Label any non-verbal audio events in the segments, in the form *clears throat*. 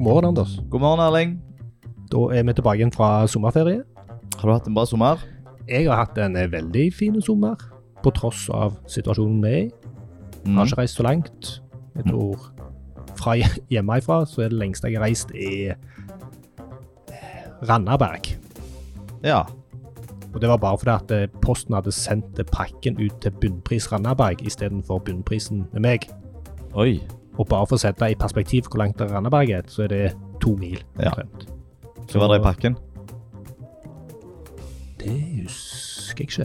morgen, Anders. God morgen, Erling. Da er vi tilbake igjen fra sommerferie. Har du hatt en bra sommer? Jeg har hatt en eh, veldig fin sommer, på tross av situasjonen vi er i. Mm. Jeg har ikke reist så langt. Jeg tror fra *laughs* hje- hjemmefra så er det lengste jeg har reist, er Randaberg. Ja. Og det var bare fordi at eh, Posten hadde sendt pakken ut til bunnpris Randaberg istedenfor bunnprisen med meg. Oi. Og bare for å sette i perspektiv hvor langt Randaberg er, så er det to mil. Ja. omtrent. Hva var det i pakken? Det husker jeg ikke.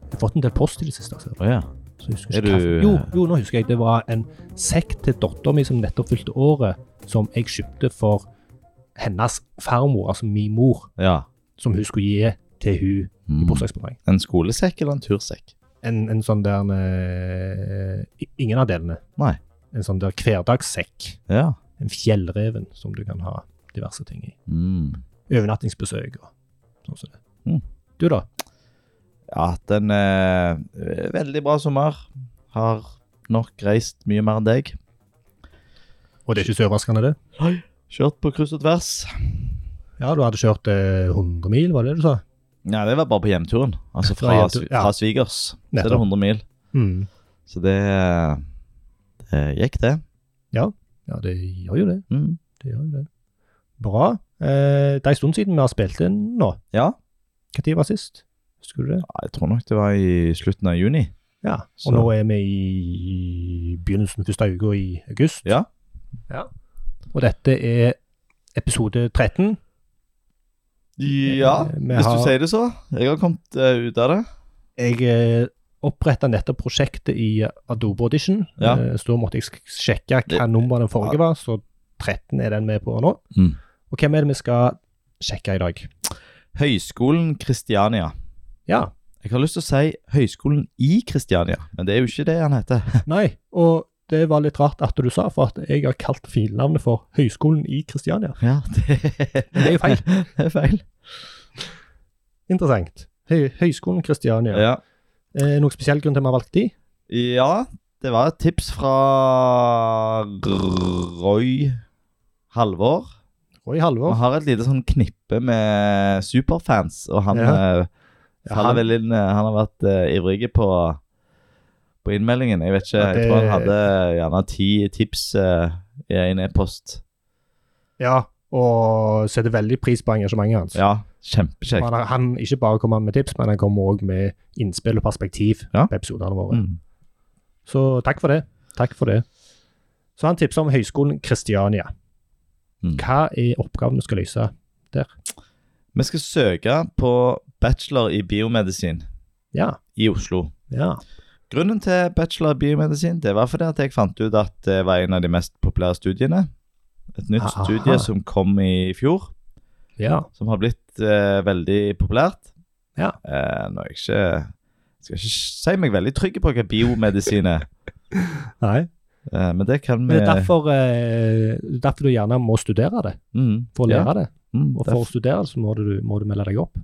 Jeg har fått en del post i det siste. Altså. Å ja. Så jeg husker Er ikke hva- du- jo, jo, nå husker jeg. Det var en sekk til dattera mi som nettopp fylte året, som jeg kjøpte for hennes farmor, altså min mor, ja. Mm. som hun skulle gi til hun i bursdagsbursdag. En skolesekk eller en tursekk? En, en sånn der eh, i- Ingen av delene. Nei. En sånn der hverdagssekk. Ja. En fjellreven som du kan ha diverse ting i. Mm. Overnattingsbesøk og sånn som det. Mm. Du, da? Jeg har hatt en eh, veldig bra sommer. Har nok reist mye mer enn deg. Og det er ikke så overraskende, det? Kjørt på kryss og tvers. Ja, du hadde kjørt eh, 100 mil, var det det du sa? Nei, det var bare på hjemturen. Altså Fra fra, hjemtur, ja. fra svigers. Så er det Nettopp. 100 mil. Mm. Så det, det gikk, det. Ja, det gjør jo det. Mm. det, gjør jo det. Bra. Eh, det er en stund siden vi har spilt inn nå. Ja. Når var sist? Husker du det? Ja, Jeg tror nok det var i slutten av juni. Ja. Så- Og nå er vi i begynnelsen første uka i august. Ja. Ja. Og dette er episode 13. Ja, Eh, vi hvis har- du sier det så. Jeg har kommet eh, ut av det. Jeg eh, oppretta nettopp prosjektet i Adobe Audition, Ja. eh, så da måtte jeg sk- sjekke hva Det- nummer den forrige var, så 13 er den med på nå. Mm. Og hvem er det vi skal sjekke i dag? Høgskolen Kristiania. Ja, Jeg har lyst til å si Høgskolen i Kristiania, men det er jo ikke det han heter. Nei, og det var litt rart at du sa, for at jeg har kalt filnavnet for Høgskolen i Kristiania. Ja, *laughs* det, Men det er jo *laughs* feil. Det er feil. Interessant. Høy, Høgskolen Kristiania. Ja. Eh, noen spesiell grunn til at vi har valgt de? ja, det var et tips fra Roy Halvor. Roy Vi Halvor. har et lite sånn knippe med superfans, og han, Ja. eh, Ja, faller han- vel inn, eh, han har vært eh, ivrig på, på innmeldingen. Jeg vet ikke, Ja, det- jeg tror han hadde gjerne ti tips eh, i en e-post. Ja, og setter veldig pris på engasjementet hans. Ja, kjempekjekt. Han, har- han ikke bare kommer med tips, men han kommer òg med innspill og perspektiv Ja. på episodene våre. Mm. Så takk for det. Takk for det. Så han tipser om Høgskolen Kristiania. Mm. Hva er oppgaven vi skal løse? Vi skal søke på bachelor i biomedisin Ja. i Oslo. ja. Grunnen til bachelor i biomedisin det var fordi at jeg fant ut at det var en av de mest populære studiene. Et nytt Aha. studie som kom i fjor, Ja. som har blitt eh, veldig populært. Ja. Eh, nå er jeg ikke jeg skal ikke si meg veldig trygg på hva biomedisin er, Nei. eh, men det kan vi Men det er derfor, eh, det er derfor du gjerne må studere det, mm, for å ja, lære det. mm, Og for derfor- å studere det, så må du, må du melde deg opp.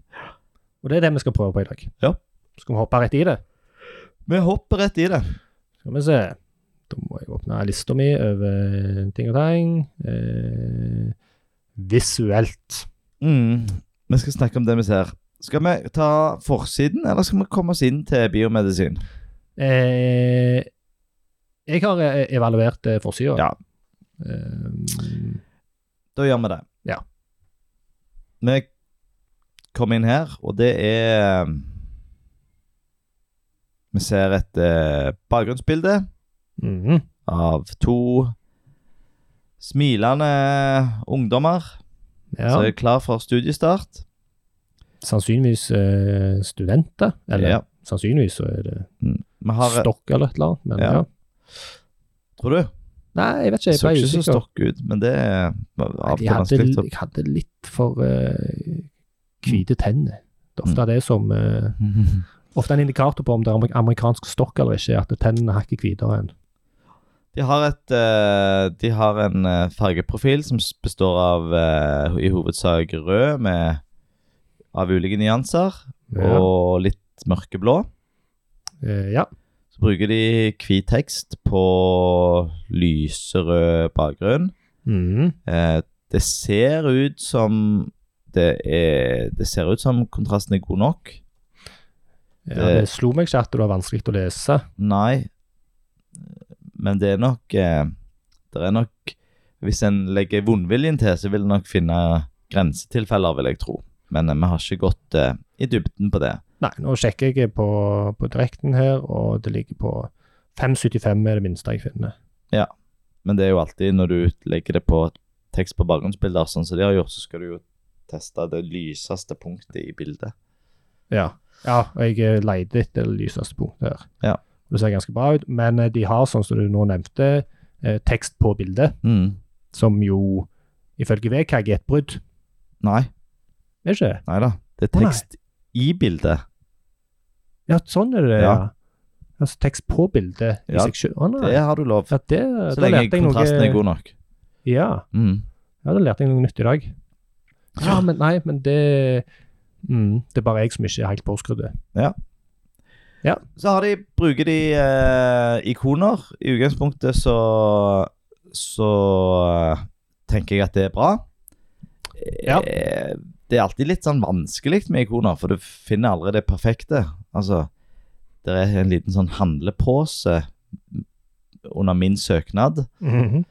Og det er det vi skal prøve på i dag. Ja. Skal vi hoppe rett i det? Vi hopper rett i det. Skal vi se. Da må jeg åpne lista mi over ting og ting. Eh, visuelt. Mm. Vi skal snakke om det vi ser. Skal vi ta forsiden, eller skal vi komme oss inn til biomedisin? Eh, jeg har eh, evaluert eh, forsida. Ja. Eh, Da gjør vi det. Ja. Vi kom inn her, og det er eh, Vi ser et eh, bakgrunnsbilde mhm. av to smilende ungdommer ja. som er klar for studiestart. Sannsynligvis eh, studenter. Eller Ja. sannsynligvis så er det Vi har stokk eller et eller annet. Men Ja. ja. Tror du? Nei, jeg vet ikke. Det Jeg så ble ikke så usikker. stokk ut, men det er Nei, av og Jeg til hadde, vanskelig. å- jeg hadde litt for eh, Mm. hvite tenner. Det er ofte det som eh, *laughs* Ofte en indikator på om det er amer- amerikansk stokk eller ikke, er at tennene er hakket hvitere enn De har, et, eh, de har en eh, fargeprofil som s- består av eh, i hovedsak rød med, av ulike nyanser, ja. og litt mørkeblå. Eh, ja. Så bruker de hvit tekst på lyserød bakgrunn. Mhm. Eh, Det ser ut som det, er, det ser ut som kontrasten er god nok. Ja, det slo meg ikke at det var vanskelig å lese. Nei, men det er nok eh, Det er nok Hvis en legger vondviljen til, så vil en nok finne grensetilfeller, vil jeg tro. Men eh, vi har ikke gått eh, i dybden på det. Nei, nå sjekker jeg på, på direkten her, og det ligger på 5,75 er det minste jeg finner. Men det er jo alltid når du legger det på tekst på bakgrunnsbilder, sånn som de har gjort, så skal du jo teste det lyseste punktet i bildet. Ja, ja og jeg eh, leide etter det lyseste punktet her. Ja. Det ser ganske bra ut, men eh, de har, sånn som du nå nevnte, eh, tekst på bildet, Mm. som jo ifølge VKG er et brudd. Nei, Er det ikke? det? nei da. Det er Å, nei. tekst i bildet. Ja, sånn er det, ja. Ja. Altså tekst på bildet i Ja, seg sjøl. Å nei. Det har du lov. Ja, det, Så da lenge lærte jeg noe eh, kontrasten er god nok. Ja, Mm. ja, da lærte jeg noe nytt i dag. Ja, men nei, men det mm, Det er bare jeg som ikke er helt påskrudd. Så har de, bruker de eh, ikoner. I utgangspunktet så så eh, tenker jeg at det er bra. Ja. Eh, det er alltid litt sånn vanskelig med ikoner, for du finner aldri det perfekte. Altså, det er en liten sånn handlepose under min søknad. Mhm.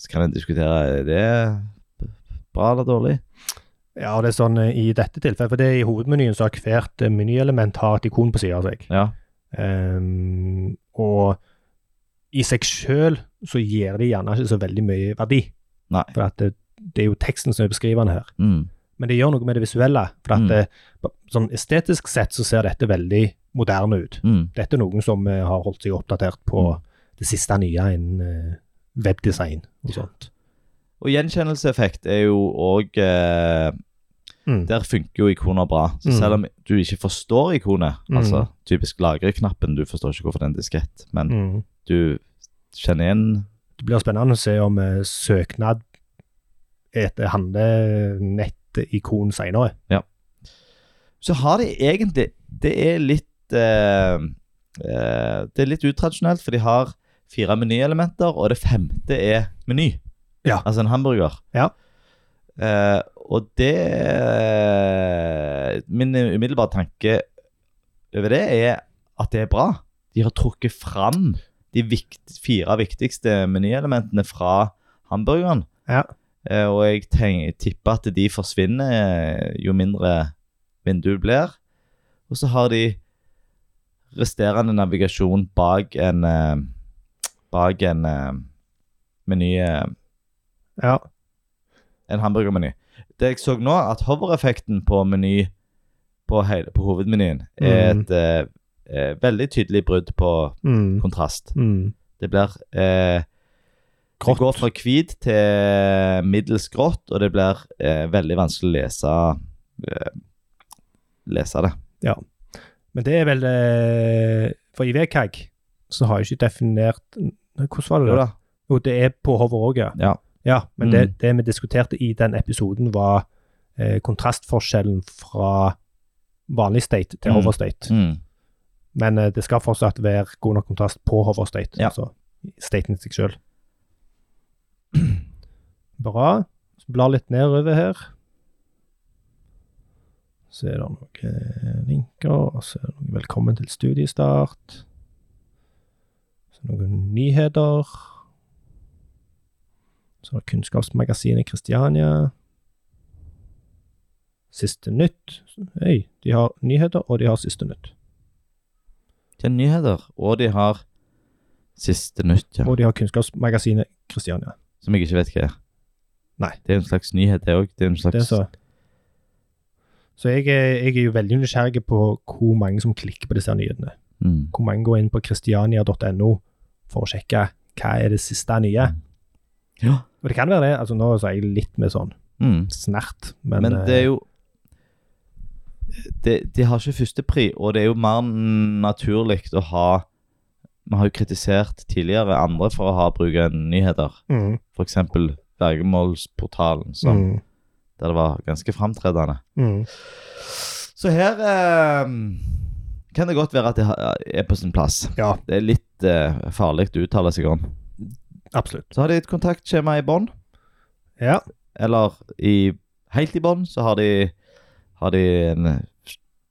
Så kan en diskutere er det bra eller dårlig. Ja, og det er sånn eh, i dette tilfellet, for det er i hovedmenyen så har hvert eh, menyelement har et ikon på sida av seg. Ja. Ehm, og i seg sjøl så gir det gjerne ikke så veldig mye verdi, Nei. for at det, det er jo teksten som er beskrivende her. Mm. Men det gjør noe med det visuelle, for at Mm. det, sånn estetisk sett så ser dette veldig moderne ut. Mm. Dette er noen som eh, har holdt seg oppdatert på det siste nye innen eh, webdesign og sånt. Og gjenkjennelseeffekt er jo eh, òg Mm. Der funker jo ikoner bra. Så Mm. selv om du ikke forstår ikonet, Mm. altså typisk lagreknappen, du forstår ikke hvorfor det er en diskett, men Mm. du kjenner igjen Det blir spennende å se om eh, søknad etter handlenettikon senere. Så har de egentlig Det er litt eh, eh, Det er litt utradisjonelt, for de har fire menyelementer, og det femte er meny. Ja. Altså en hamburger. Ja. Eh, og det Min umiddelbare tanke over det er at det er bra. De har trukket fram de vikt, fire viktigste menyelementene fra hamburgeren. Ja. Eh, og jeg tenk, tipper at de forsvinner eh, jo mindre vinduet blir. Og så har de resterende navigasjon bak en eh, Bak en eh, meny eh, Ja. En hamburgermeny. Det jeg så nå, at hovereffekten på meny på, hele, på hovedmenyen er Mm. et eh, eh, veldig tydelig brudd på Mm. kontrast. Mm. Det blir eh, Grått. Det går fra hvit til middels grått, og det blir eh, veldig vanskelig å lese eh, Lese det. Men det er vel eh, For i VKG så har jeg ikke definert Nei, Hvordan var det? Jo da? da. Jo, det er på hover òg, ja. Ja. ja. Men Mm. det, det vi diskuterte i den episoden, var eh, kontrastforskjellen fra vanlig state til Mm. hover state. Mm. Men eh, det skal fortsatt være god nok kontrast på hover state, Ja. altså staten i seg sjøl. *clears throat* Bra. Så Blar litt nedover her. Så er det noen eh, linker, og så er det noe 'Velkommen til studiestart'. Så noen nyheter. Så er det Kunnskapsmagasinet Kristiania. Siste nytt. Oi, de har nyheter, og de har siste nytt. Det er nyheter, og de har siste nytt, ja. Og de har Kunnskapsmagasinet Kristiania. Som jeg ikke vet hva er. Nei. Det er en slags nyhet, det òg. Det er en slags Det er så. Så jeg er, jeg er jo veldig nysgjerrig på hvor mange som klikker på disse nyhetene. mm. Hvor mange går inn på kristiania.no for å sjekke hva er det siste nye. Ja. Og det kan være det. altså Nå er jeg litt med sånn Mm. snert, Men, men, eh, det er jo det, De har ikke førstepri, og det er jo mer naturlig å ha Vi har jo kritisert tidligere andre for å ha bruke nyheter. eh, mm, F.eks. Vergemålsportalen, som, mm, der det var ganske framtredende. mm. Så her eh, kan det godt være at det ha- er på sin plass. Ja, Det er litt eh, farlig å uttale seg om. absolutt. Så har de et kontaktskjema i bånn. Ja. Eller i, helt i bånn så har de, har de en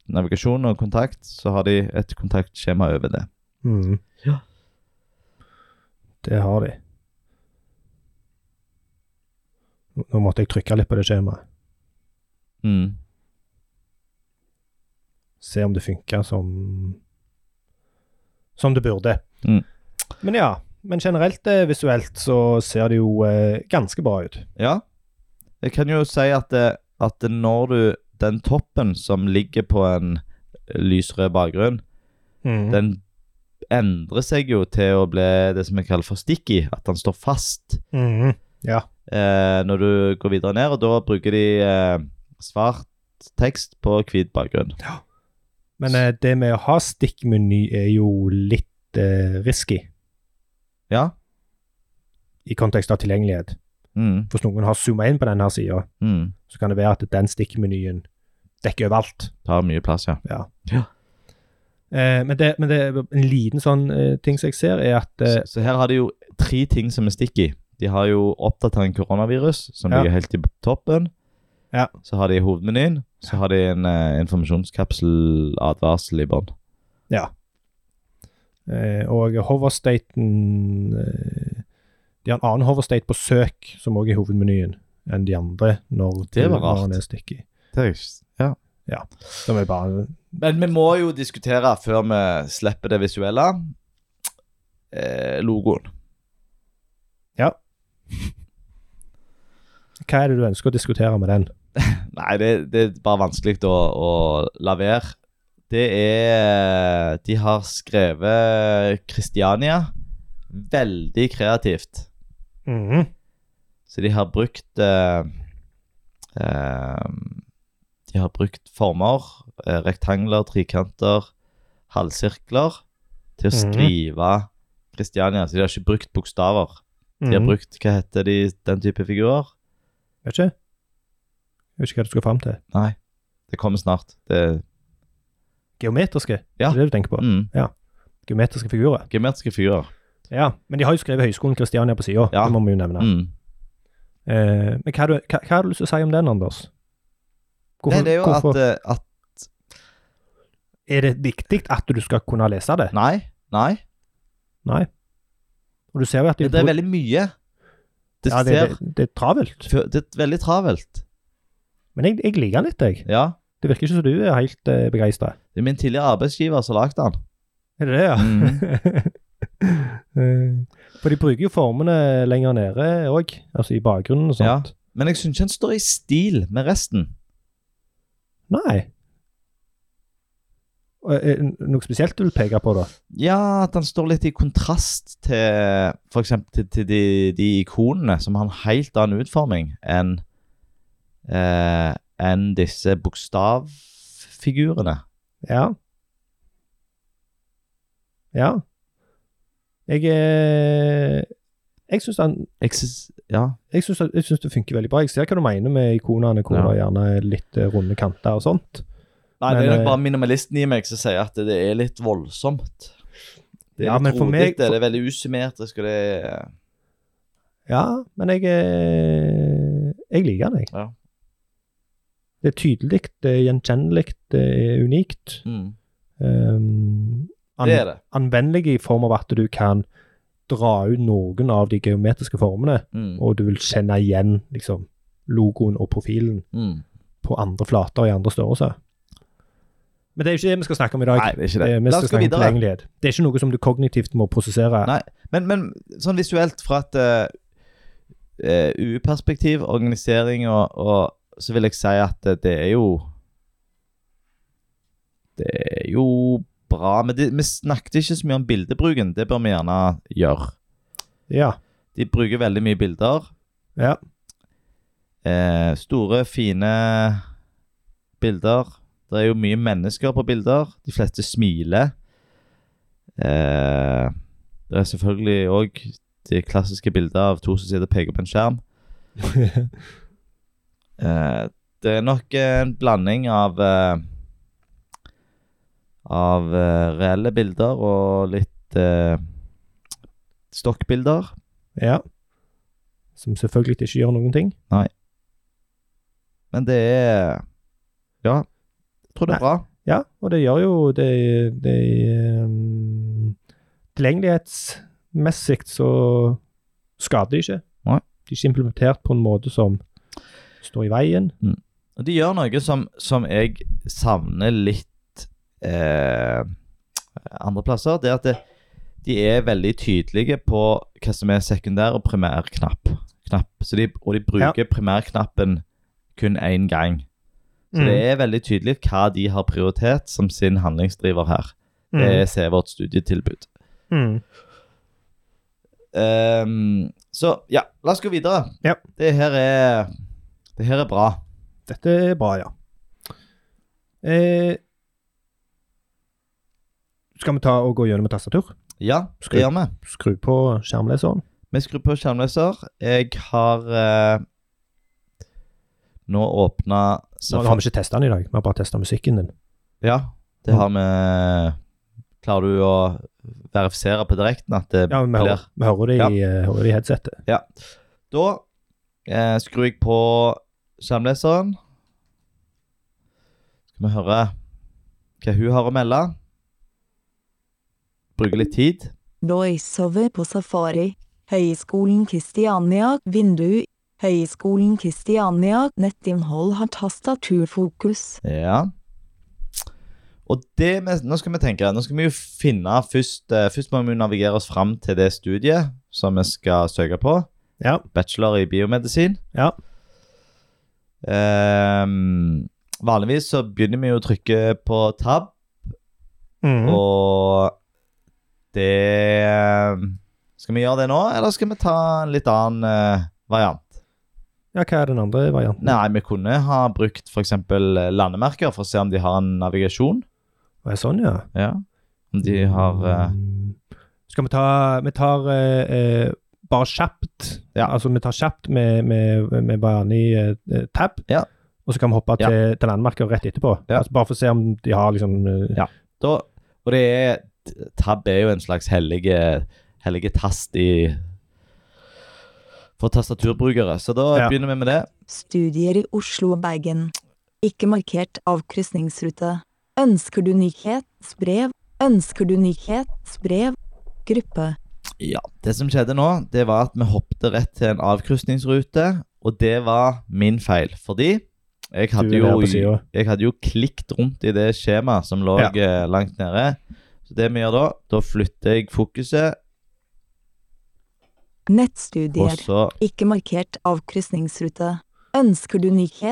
navigasjon og kontakt, så har de et kontaktskjema over det. Mhm. Ja. Det har de. Nå måtte jeg trykke litt på det skjemaet. Mm. Se om det funker som Som det burde. Mm. Men ja. Men generelt eh, visuelt så ser det jo eh, ganske bra ut. Ja. Jeg kan jo si at, det, at det når du Den toppen som ligger på en lysrød bakgrunn, Det- den endrer seg jo til å bli det som jeg kaller for sticky. At den står fast Mhm. Ja. eh, når du går videre ned, og da bruker de eh, svart tekst på hvit bakgrunn. Men eh, det med å ha stikkmeny er jo litt eh, risky Ja. i kontekst av tilgjengelighet. Mm, Hvis noen har zooma inn på denne sida, mm. så kan det være at den stikkmenyen dekker overalt. Tar mye plass, ja. Eh, men, det, men det er en liten sånn eh, ting som jeg ser, er at eh, Så, så her har de jo tre ting som er sticky. De har jo oppdatering koronavirus, som Ja. ligger helt i toppen. Ja. Så har de hovedmenyen. Så har de en eh, informasjonskapsel-advarsel i bånn. eh, Og hoverstaten eh, De har en annen hoverstate på søk, som òg er hovedmenyen, enn de andre når Det var rart. tilhøreren er sticky. Ja. Som er bare Men vi må jo diskutere, før vi slipper det visuelle, eh, logoen. Hva er det du ønsker å diskutere med den? Nei, det, det er bare vanskelig å, å la være. Det er eh, De har skrevet Kristiania veldig kreativt. Mhm. Så de har brukt eh, eh, De har brukt former, eh, rektangler, trikanter, halvsirkler, til å Mhm. skrive Kristiania. Så de har ikke brukt bokstaver. De har Mhm. brukt Hva heter de, den type figurer? Vet ikke. Jeg vet ikke hva du skal fram til. Nei, det kommer snart. Det, Geometriske? Ja. Det er det du tenker på? mm, Geometriske figurer? geometriske figurer. Ja, men de har jo skrevet Høgskolen Kristiania på sida, Ja. det må vi jo nevne. Mm. Eh, men hva, har du, hva, hva har du lyst til å si om den, Anders? Nei, det er jo hvorfor- at, eh, at er det viktig at du skal kunne lese det? Nei. Nei. Og du ser jo at de Det er veldig mye. Det, ja, det, ser, det, det er travelt. det, det er veldig travelt. Men jeg, jeg liker den litt, jeg. Ja. Det virker ikke som du er helt uh, begeistra. Det er min tidligere arbeidsgiver som lagde den. Er det det, ja? Mhm. *laughs* Eh, For de bruker jo formene lenger nede òg, altså i bakgrunnen og sånt. Men jeg syns ikke han står i stil med resten. Nei. Og, eh, Noe spesielt du vil peke på, da? Ja, at han står litt i kontrast til for eksempel til, til de, de ikonene som har en helt annen utforming enn eh, enn disse bokstavfigurene. Ja. Ja. Jeg eh, Jeg syns han Jeg synes, ja. jeg syns, jeg syns det funker veldig bra. Jeg ser hva du mener med ikonene, hvor det er gjerne er litt eh, runde kanter og sånt. Nei, det Men, er nok eh, bare minimalisten i meg som sier at det er litt voldsomt. Det er Ja, men litt for rodig, meg- det er veldig usymmetrisk, og det er Ja, men jeg eh, Jeg liker den, jeg. Ja. Det er tydelig, det er gjenkjennelig, det er unikt. mm, Um, Det er det. anvendelig i form av at du kan dra ut noen av de geometriske formene, Mm, og du vil kjenne igjen liksom, logoen og profilen mm. på andre flater og i andre størrelser. Men det er jo ikke det vi skal snakke om i dag. Nei, det er ikke det. Det, er- vi La skal oss gå snakke om videre. tilgjengelighet. Det er ikke noe som du kognitivt må prosessere. Nei. Men, men sånn visuelt fra et eh, eh, UU-perspektiv, organisering og, og Så vil jeg si at eh, det, det er jo Det er jo bra. Men det, vi snakket ikke så mye om bildebruken. Det bør vi gjerne gjøre. Ja. De bruker veldig mye bilder. Ja. Eh, store, fine bilder. Det er jo mye mennesker på bilder. De fleste smiler. Eh, det er selvfølgelig òg de klassiske bildene av to som sitter og peker på en skjerm. Eh, det er nok eh, en blanding av eh, Av eh, reelle bilder og litt eh, stokkbilder. ja. Som selvfølgelig ikke gjør noen ting. Men det er Ja, jeg tror det er bra. Ja, og det gjør jo det, det ehm, Tilgjengelighetsmessig så skader de ikke. Nei. De er ikke implementert på en måte som står i veien. Og de gjør noe som, som jeg savner litt eh, andre plasser. Det er at det, de er veldig tydelige på hva som er sekundær og primærknapp. Knapp. Så de, og de bruker primærknappen kun én gang. Så det er veldig tydelig hva de har prioritet som sin handlingsdriver her. Det er se vårt studietilbud. Mm. Ehm, så ja, la oss gå videre. Ja. Det her er Det her er bra. Dette er bra, ja. Eh, skal vi ta og gå gjennom et tastatur? Ja, Skru. det gjør vi. Skru på skjermleseren. Vi skrur på skjermleser. Jeg har eh, nå åpna Nå har vi ikke testa den i dag, vi har bare testa musikken din. Ja, det har vi Klarer du å verifisere på direkten at eh, det Ja, Vi hører, blir vi hører, det, i, eh, hører det i headsetet. Da eh, skrur jeg på skjermleseren. Skal vi høre hva hun har å melde. Bruke litt tid. VoiceOver på Safari. Høgskolen Kristiania, vindu. Høgskolen Kristiania, nettinnhold har tastaturfokus. Ja. Og det vi, nå skal vi tenke, nå skal vi jo finne først eh, Først må vi navigere oss fram til det studiet som vi skal søke på. Ja. Bachelor i biomedisin. Ja. Ehm, vanligvis så begynner vi jo å trykke på tab, Mhm. og det Skal vi gjøre det nå, eller skal vi ta en litt annen eh, variant? ja, hva er den andre varianten? Nei, vi kunne ha brukt f.eks. landemerker for å se om de har en navigasjon. Er det sånn, ja. Ja. Om de har eh, Mm. Skal vi ta Vi tar eh, eh, bare kjapt. Ja. Altså, vi tar kjapt med, med, med vanlig eh, eh, tab. Ja. Og så kan vi hoppe Ja. til, til landmerker rett etterpå. Ja. Altså, bare for å se om de har liksom eh, Ja. da, Og det er Tab er jo en slags hellige, hellige tast i For tastaturbrukere. Så da Ja. begynner vi med det. Studier i Oslo og Bergen. Ikke markert avkrysningsrute. Ønsker du nyhetsbrev? Ønsker du nyhetsbrev? Gruppe. Ja. Det som skjedde nå, det var at vi hoppet rett til en avkrysningsrute, og det var min feil. Fordi jeg Du hadde, er på jo, sida. jeg hadde jo klikt rundt i det skjemaet som lå Ja. eh, langt nede. Så det vi gjør da, da flytter jeg fokuset, og Nettstudier. så Ikke markert avkrysningsrute. Ønsker du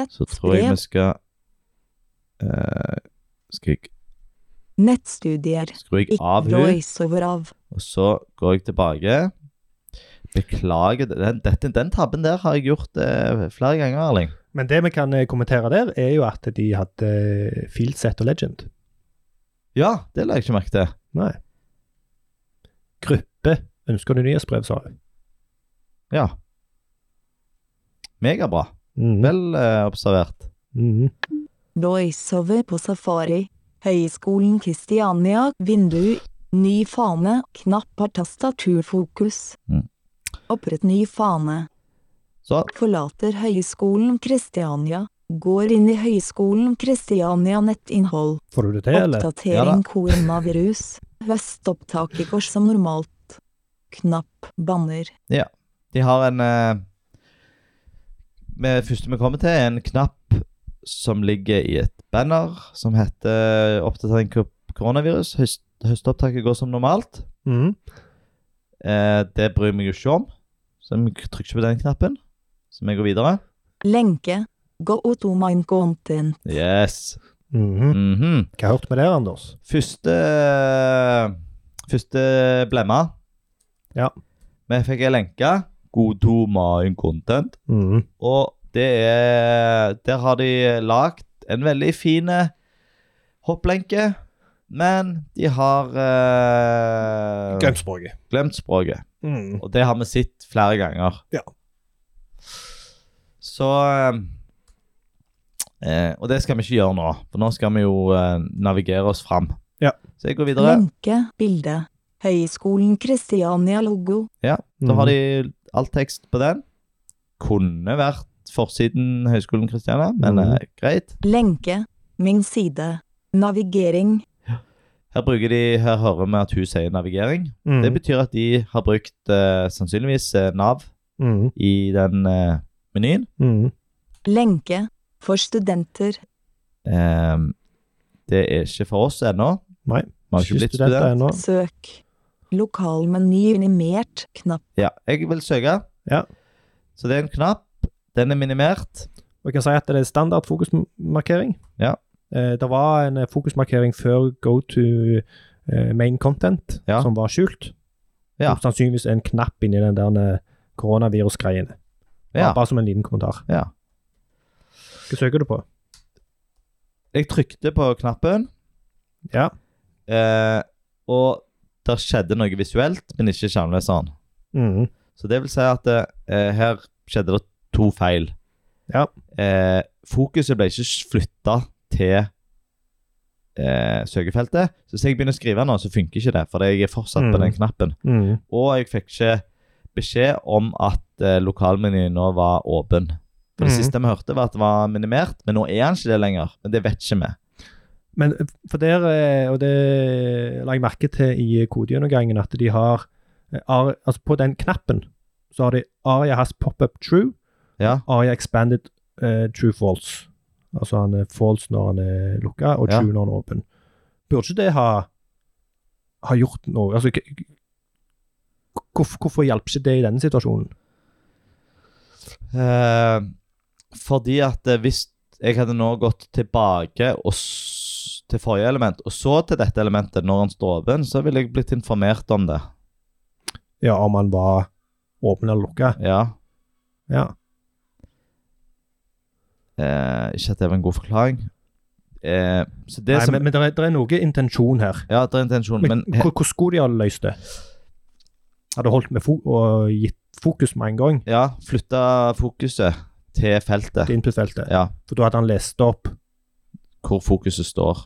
Så tror jeg vi nyhetsbrev? skal eh, Skal jeg Nettstudier. Skrur jeg Ikke av hun, voiceover av. og så går jeg tilbake. Beklager, den, dette, den tabben der har jeg gjort eh, flere ganger, Erling. Men det vi kan eh, kommentere der, er jo at de hadde eh, Fieldset og Legend. Ja, det la jeg ikke merke til. Nei. Gruppe ønsker du nyhetsbrev, sa hun. Ja. Megabra. Mhm. Vel eh, observert. Mhm. Voiceover på safari. Høgskolen Kristiania, vindu. Ny fane, knapp har tastaturfokus. Mm. Opprett ny fane. Så Forlater Høgskolen Kristiania. Går inn i Høgskolen Kristiania nettinnhold. Får du det til, eller? Ja da. Oppdatering koronavirus. Høstopptaket går som normalt. Knapp banner. de har en eh, med, Første vi kommer til, er en knapp som ligger i et banner som heter eh, 'Oppdatering kor- koronavirus'. Høst, høstopptaket går som normalt. Mhm. Eh, det bryr meg jo ikke om, så jeg trykker ikke på den knappen. Så vi går videre. Lenke. Gå to mind content. Yes. Mhm. Mhm. Hva hørte vi der, Anders? Første Første blemma. Ja. Vi fikk ei lenke. God to mine content. Mhm. Og det er Der har de lagd en veldig fin eh, hopplenke, men de har eh, Gønsborget. glemt språket. Mm. Og det har vi sett flere ganger. Ja. Så eh, Og det skal vi ikke gjøre nå, for nå skal vi jo eh, navigere oss fram. Ja. Mm. Så jeg går videre. Lenke. Bilde. Høgskolen Kristiania logo. Da har de all tekst på den. Kunne vært forsiden Høgskolen Kristiania, men Mhm. eh, greit. Lenke. Min side. Navigering. Her bruker de, her hører vi at hun sier navigering. Mm. Det betyr at de har brukt eh, sannsynligvis eh, Nav Mhm, i den eh, menyen. mhm. Lenke. For studenter. Ehm, det er ikke for oss ennå. Nei, Vi har ikke blitt studenter student. ennå. Søk. Lokalmeny minimert. Knapp. Ja, jeg vil søke. Ja. Så det er en knapp. Den er minimert. Og jeg kan si at det er standard fokusmarkering. Ja. Eh, det var en eh, fokusmarkering før go to eh, main content, Ja. som var skjult. Ja. Og Sannsynligvis en knapp inni den der eh, koronavirusgreiene. Ja. Bare- Bare som en liten kommentar. Ja. Hva søker du på? Jeg trykte på knappen, Ja. eh, og der skjedde noe visuelt, men ikke skjermleseren. Mhm. Så det vil si at eh, her skjedde det to feil. Ja. Eh, fokuset ble ikke flytta til eh, søkefeltet. Så hvis jeg begynner å skrive nå, så funker ikke det, for jeg er fortsatt Mm. på den knappen. Mhm. Og jeg fikk ikke beskjed om at eh, lokalmenyen nå var åpen. For Det Mhm. siste vi hørte, var at det var minimert, men nå er han ikke det lenger. Men det vet ikke vi. Men eh, for der, eh, og det la jeg merke til i kodegjennomgangen, at de har eh, Ar- Altså, på den knappen så har de Aria has pop-up true, Ja, Aria expanded eh, true false. Altså han er false når han er lukka, og Ja. true når han er åpen. Burde ikke det ha, ha gjort noe? Altså, k- k- hvorfor, hvorfor hjalp ikke det i denne situasjonen? Eh, fordi at eh, hvis jeg hadde nå gått tilbake og s til forrige element, og så til dette elementet når han står åpen, så ville jeg blitt informert om det. Ja, om han var åpen eller lukka? Ja. Ja. Eh, ikke at det var en god forklaring. Eh, så det Nei, som men, men det er, der er noe intensjon her. Ja, det er intensjon, Men, men hvor- hvordan skulle de ha løst det? Hadde holdt med fo og gitt fokus med en gang ja, flytta fokuset til feltet. til input-feltet. Ja, For da hadde han lest opp, hvor fokuset står.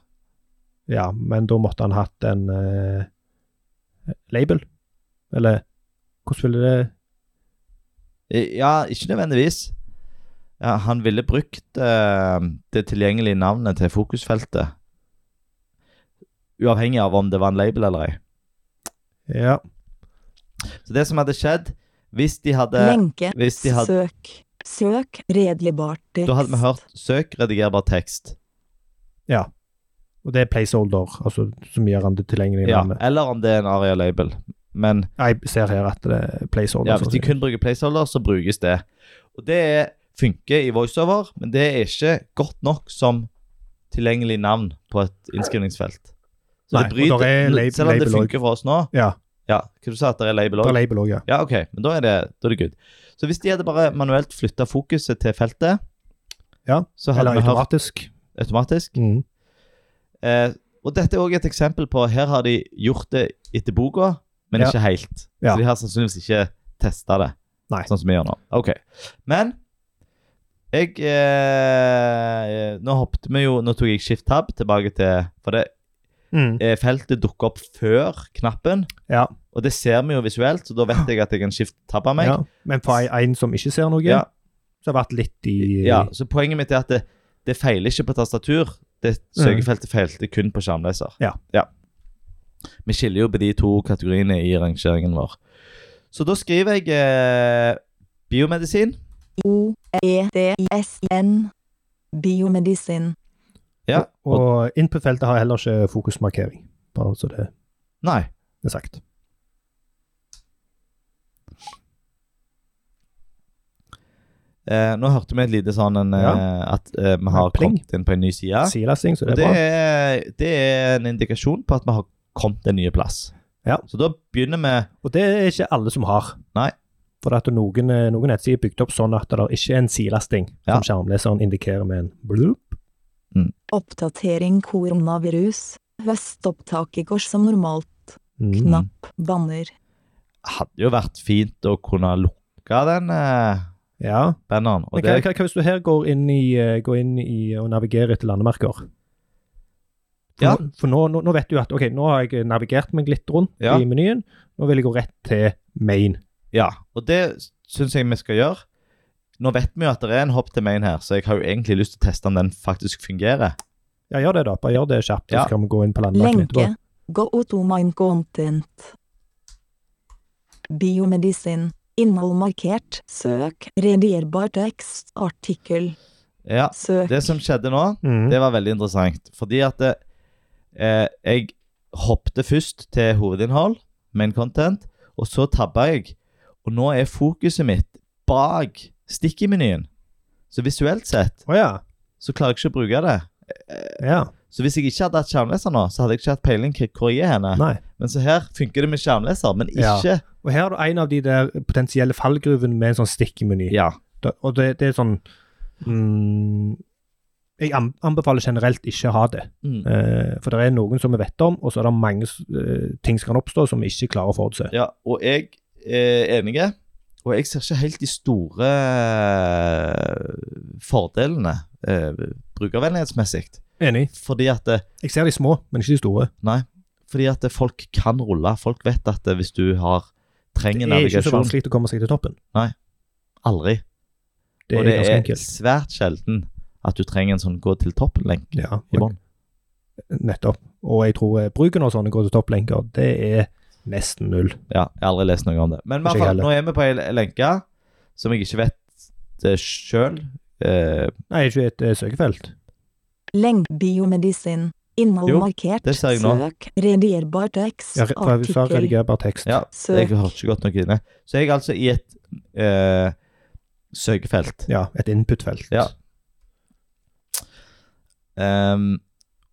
ja, men da måtte han hatt en eh, label. Eller hvordan ville det Eh, Ja, ikke nødvendigvis. Ja, han ville brukt eh, det tilgjengelige navnet til fokusfeltet. Uavhengig av om det var en label eller ei. Ja. Så det som hadde skjedd, hvis de hadde Lenke. hvis de hadde, Søk. Søk. Redeligbart tekst. Da hadde vi hørt 'søk redigerbar tekst'. Og det er placeholder, altså, som gjør han det tilgjengelig. i Ja, navnet. eller om det er en aria-label. Men Jeg ser her at det er placeholder. ja, hvis de sånn. kun bruker placeholder, så brukes det. Og det er, funker i voiceover, men det er ikke godt nok som tilgjengelig navn på et innskrivningsfelt. Så Nei, det og bryter, der er lab- selv om det label funker for oss nå, ja, Ja, hva du sa at det er label det er òg? label òg, ja. Ja, ok, men da er, det, da er det good. Så hvis de hadde bare manuelt flytta fokuset til feltet, Ja, så hadde Eller vi hørt automatisk. automatisk. Mm. Eh, og dette er òg et eksempel på her har de gjort det etter boka, men Ja. ikke helt. Ja. Så de har sannsynligvis ikke testa det, Nei. sånn som vi gjør nå. Ok, Men jeg eh, Nå hoppet vi jo Nå tok jeg shift tab tilbake til For det Mm. eh, feltet dukker opp før knappen, Ja. og det ser vi jo visuelt, så da vet jeg at jeg kan shift tabbe meg. ja. Men for ei- en som ikke ser noe, Ja. så har det vært litt i Ja, så poenget mitt er at det, det feiler ikke på tastatur. Det søkefeltet feilte kun på skjermleser. Ja. Vi skiller jo på de to kategoriene i rangeringen vår. Så da skriver jeg eh, biomedisin. O. E. D. I. S. N. Biomedisin. Ja. Og, Og input-feltet har heller ikke fokusmarkering, bare så det nei. er sagt. Eh, nå hørte vi et lite sånn en, eh, at eh, vi har Ja, pling. kommet inn på en ny side. Silasing, så Og det det er bra. er, det er en indikasjon på at vi har kommet en ny plass. Ja. Så da begynner vi Og det er ikke alle som har. Nei. For at noen, eh, noen nettsider er bygd opp sånn at det ikke er en silasting, Ja. som skjermleseren indikerer med en bloop. Oppdatering koronavirus. Høstopptak i går som normalt. Mm. Knapp. Banner. Hadde jo vært fint å kunne lukke den eh, Ja. banneren. Men hva, Og det hva, hva hvis du her går inn i, eh, går inn i og navigerer etter landemerker? For, Ja. nå, for nå, nå, nå vet du at ok, nå har jeg navigert meg litt rundt Ja. i menyen. Nå vil jeg gå rett til main. Ja, og det syns jeg vi skal gjøre. Nå vet vi jo at det er en hopp til main her, så jeg har jo egentlig lyst til å teste om den faktisk fungerer. Ja, gjør det, da. Bare gjør det kjapt, Ja. så kan vi gå inn på landvakten etterpå. Lenke. Go to mine content. Biomedisin. Innhold markert. Søk. Redierbar tekst. Artikkel. Ja, Søk. Det som skjedde nå, Mhm. det var veldig interessant. Fordi at det, eh, jeg hoppte først til hovedinnhold, main content, og så tabba jeg. Og nå er fokuset mitt bak stikkmenyen. Så visuelt sett Å ja. så klarer jeg ikke å bruke det. ja. Så hvis jeg ikke hadde hatt skjermleser nå, så hadde jeg ikke hatt peiling hva- hvor jeg er henne. Nei. Men så her funker det med skjermleser, men Ja. ikke Og her er du en av de der potensielle fallgruvene med en sånn stikkemeny. Ja. Da- Og det, det er sånn mm, Jeg an- anbefaler generelt ikke å ha det. Mm. Eh, for det er noen som vi vet om, og så er det mange s- eh, ting som kan oppstå som vi ikke klarer å forutse. Eh, Ja, og jeg er enig, og jeg ser ikke helt de store eh, fordelene eh, brukervennlighetsmessig. Enig. Fordi at, eh, Jeg ser de små, men ikke de store. fordi at folk kan rulle. Folk vet at eh, hvis du har Det trenger er ikke så navigasjon vanskelig å komme seg til toppen. Aldri. Det og er det ganske er enkelt. svært sjelden at du trenger en sånn gå til toppen-lenk Ja, i og- bånn. nettopp. Og jeg tror eh, bruken av sånne går til topplenker, det er nesten null. Ja, jeg har aldri lest noe om det. Men i Ikke hvert fall, heller. nå er vi på ei lenke som jeg ikke vet eh, sjøl. Eh, Nei, ikke et eh, søkefelt. Lenk. Biomedisin. Innhold Jo, markert. det ser jeg nå. Søk. Redierbar tekst. Ja, re- for jeg sa Artikkel. redigerbar tekst. ja, jeg Søk. har ikke gått noe inne. Så jeg er altså i et eh, søkefelt. Ja, et input-felt. Ja. Ehm,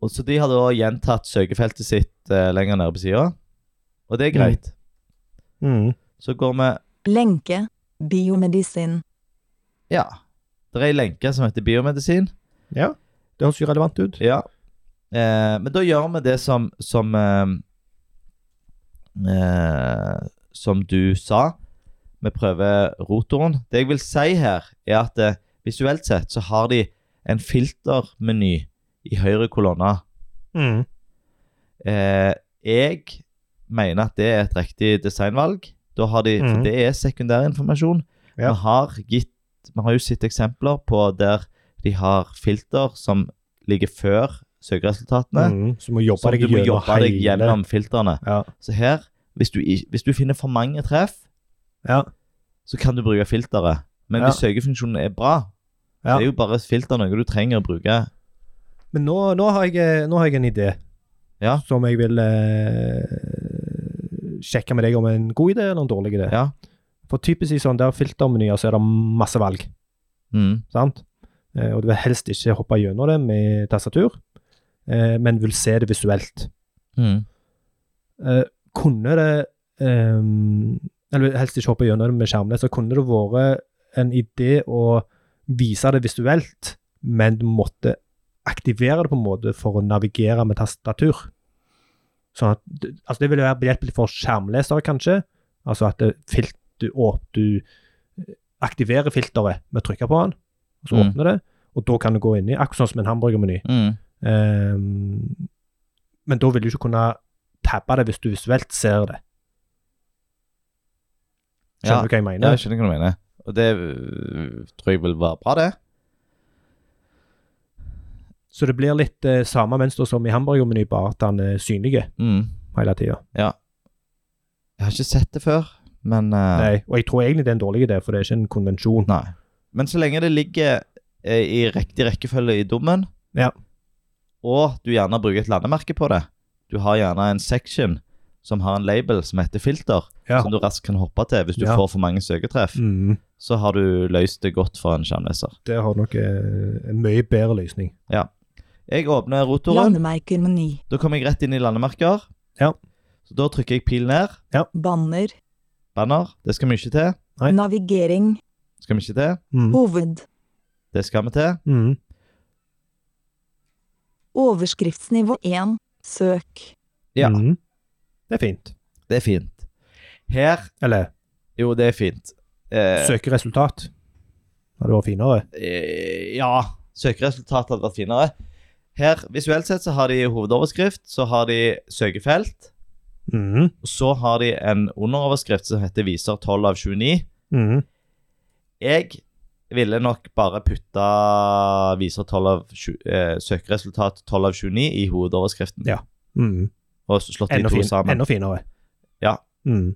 og så de har da gjentatt søkefeltet sitt eh, lenger nede på sida, og det er greit. Mm. Så går vi Lenke. Biomedisin. Ja. Det er ei lenke som heter biomedisin. ja. Det høres jo relevant ut. Ja. Eh, men da gjør vi det som som ehm, eh, som du sa. Vi prøver rotoren. Det jeg vil si her, er at eh, visuelt sett så har de en filtermeny i høyre kolonne. Mm. Eh, jeg mener at det er et riktig designvalg. Da har de, Mhm. For det er sekundærinformasjon. Ja. Vi, har gitt, vi har jo sett eksempler på der de har filter som ligger før søkeresultatene. Mm. Så må jobbe Så deg du må gjennom jobbe deg gjennom filtrene. Ja. Så her, hvis du, i- hvis du finner for mange treff, Ja. så kan du bruke filteret. Men Ja. hvis søkefunksjonen er bra, Ja. det er jo bare filter noe du trenger å bruke. Men nå, nå, har jeg, eh, nå har jeg en idé Ja. som jeg vil eh, sjekke med deg om er en god idé eller en dårlig idé. Ja. For typisk i sånne der filtermenyer så er det masse valg, Mm. sant? Eh, og du vil helst ikke hoppe gjennom det med tastatur, eh, men vil se det visuelt. Mm. Eh, kunne det ehm, Eller helst ikke hoppe gjennom det med skjermless, så kunne det vært en idé å vise det visuelt, men du måtte aktivere det på en måte for å navigere med tastatur. Sånn at, altså Det ville være behjelpelig for skjermlesere, kanskje. Altså at det filt, du, åp, du eh, aktiverer filteret med å trykke på den, og så Mm. åpner det. Og da kan du gå inn i, akkurat sånn som en hamburgermeny. Mm. Ehm, men da vil du ikke kunne tabbe det hvis du visuelt ser det. Skjønner Ja. du hva jeg Ja, mener? jeg skjønner hva du mener. Og det øh, tror jeg vil være bra, det. Så det blir litt eh, samme mønster som i hamburgermeny, bare at han er synlig Mm. hele tida. Jeg har ikke sett det før, men øh, Nei, Og jeg tror egentlig det er en dårlig idé, for det er ikke en konvensjon. nei. Men så lenge det ligger eh, i riktig rekkefølge i dommen, Ja. og du gjerne bruker et landemerke på det Du har gjerne en section som har en label som heter filter, Ja. som du raskt kan hoppe til hvis du Ja. får for mange søketreff. Mm, Så har du løst det godt for en skjermleser. det har nok eh, en mye bedre løsning. Jeg åpner rotoren. Landemerkermeny. Da kommer jeg rett inn i landemerker. Ja. Så da trykker jeg pil ned. Banner. Banner. Det skal vi ikke til. Nei. Navigering. Skal vi ikke til. Mm, Hoved. Det skal vi til. mm, Overskriftsnivå 1. Søk. Ja. Mm. Det er fint. Det er fint. Her Eller Jo, det er fint. Eh, søke resultat. Hadde vært finere. eh, ja. Søkeresultatet hadde vært finere. Her, Visuelt sett så har de hovedoverskrift, så har de søkefelt. Mm, Og så har de en underoverskrift som heter 'Viser 12 av 29'. mm, Jeg ville nok bare putta viser 12 av 20, eh, søkeresultat 12 av 29 i hovedoverskriften. Ja. Mm. Og så slått de Enda, to fin, sammen. enda finere. Ja. Mm.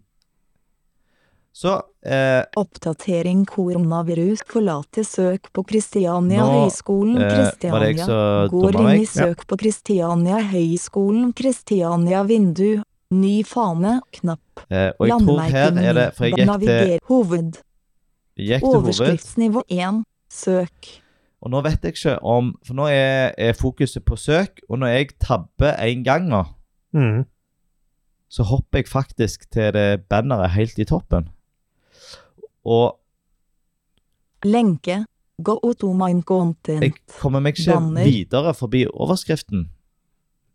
Så eh, Oppdatering koronavirus forlater søk på Kristiania Nå, Høgskolen eh, Kristiania. var det jeg som Går dumma inn i meg? Ja. søk på Kristiania Høgskolen Kristiania vindu. Ny fane, knapp, eh, Og jeg tror her er det For jeg gikk til, naviger, hoved, gikk til hoved, overskriftsnivå 1, søk. og nå vet jeg ikke om For nå er, er fokuset på søk, og når jeg tabber én gang nå, Mm. så hopper jeg faktisk til det banneret helt i toppen. Og Lenke. Gå oto mine jeg content. kommer meg ikke Banner. videre forbi overskriften.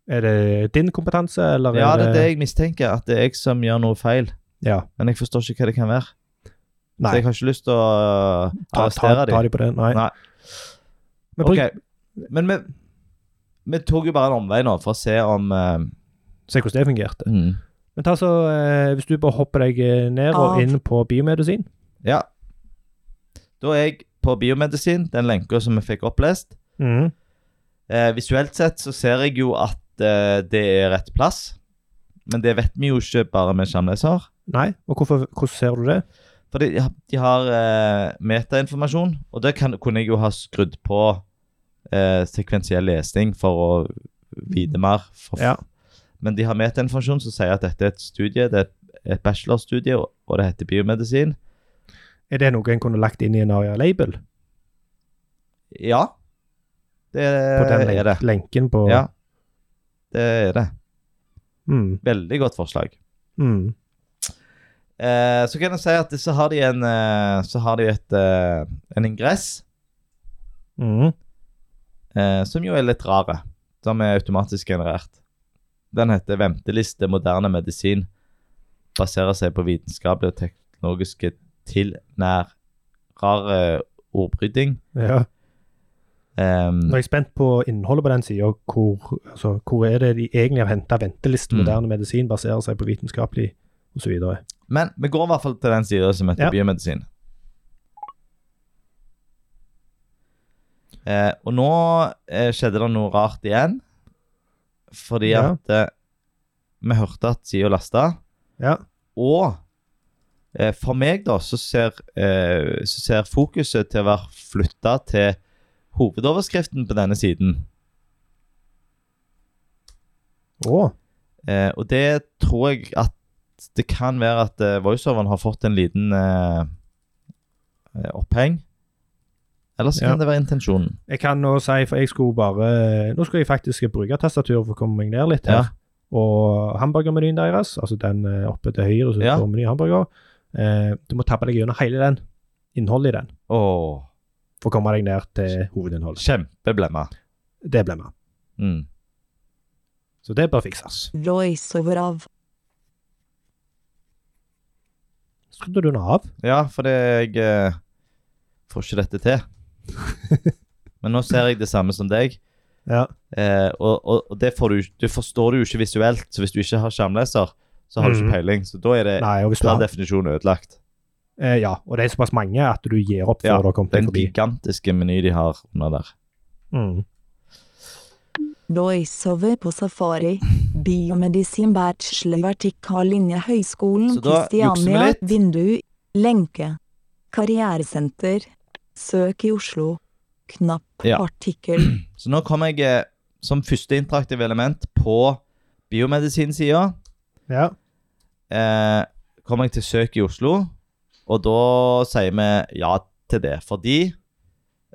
Er det din kompetanse, eller Ja, er det er det jeg mistenker, at det er jeg som gjør noe feil. Ja. Men jeg forstår ikke hva det kan være. Nei. Så jeg har ikke lyst til å Ta, ta, arrestere ta dem. de på det. Nei. Nei. Men bruk, Ok, Men vi, vi tok jo bare en omvei nå for å se om eh, Se hvordan det fungerte. mm, Men ta så, eh, hvis du bare hopper deg eh, ned og Av. inn på biomedisin Ja. Da er jeg på biomedisin, den lenka som vi fikk opplest. mm. Eh, visuelt sett så ser jeg jo at eh, det er rett plass. Men det vet vi jo ikke bare med Sandneser. Nei, og hvorfor, hvordan ser du det? For de, de har eh, metainformasjon, og det kan, kunne jeg jo ha skrudd på eh, sekvensiell lesning for å vite mer. For, Ja. Men de har metainformasjon som sier at dette er et studie, det er et, et bachelorstudie, og, og det heter biomedisin. Er det noe en kunne lagt inn i en ARIA-label? Ja, det På den Eh, er det. lenk- lenken på Ja, det er det. mm. Veldig godt forslag. Mm. Eh, så kan jeg si at så har de en, eh, så har de et, eh, en ingress, Mm. eh, som jo er litt rare, som er automatisk generert. Den heter 'Venteliste moderne medisin'. Baserer seg på vitenskapelige og teknologiske tilnærrare ordbryding. ja. Ehm, Nå er jeg spent på innholdet på den sida. Hvor, altså, hvor er det de egentlig har henta venteliste Mm. moderne medisin, baserer seg på vitenskapelig osv.? men vi går i hvert fall til den sida som heter Ja. biomedisin. Eh, og nå eh, skjedde det noe rart igjen, fordi Ja. at eh, vi hørte at sida lasta. Ja. Og eh, for meg, da, så ser, eh, så ser fokuset til å være flytta til hovedoverskriften på denne siden. Å. Eh, og det tror jeg at det kan være at eh, voiceoveren har fått en liten eh, eh, oppheng. Eller så Ja. kan det være intensjonen. Jeg kan nå si, for jeg skulle bare Nå skulle jeg faktisk bruke tastaturet for å komme meg ned litt Ja. her. Og hamburgermenyen deres, altså den eh, oppe til høyre som Ja. står meny hamburger eh, Du må tappe deg gjennom hele den, innholdet i den, Åh, for å komme deg ned til hovedinnholdet. kjempeblemma. Det ble med. Mm. Så det bør fikses. Voiceover av. Skrudde du den av? Ja, for det, jeg eh, får ikke dette *laughs* til. Men nå ser jeg det samme som deg. Ja. Eh, og, og, og det får du, du forstår det jo ikke visuelt, så hvis du ikke har skjermleser, så har du Mhm. ikke peiling. Så da er det Nei, og hvis du per har definisjon ødelagt. eh, Ja, og det er såpass mange at du gir opp før Ja, du har kommet deg Den forbi. gigantiske meny de har under der. Mm. Voiceover på safari. Biomedisin bachelor vertikal linje Høgskolen Så da jukser vi Kristiania. litt. Vindu. Lenke. Karrieresenter. Søk i Oslo. Knapp. Ja. Artikkel. Så nå kommer jeg eh, som første interaktive element på biomedisinsida. Ja. Eh, kommer jeg til Søk i Oslo, og da sier vi ja til det. Fordi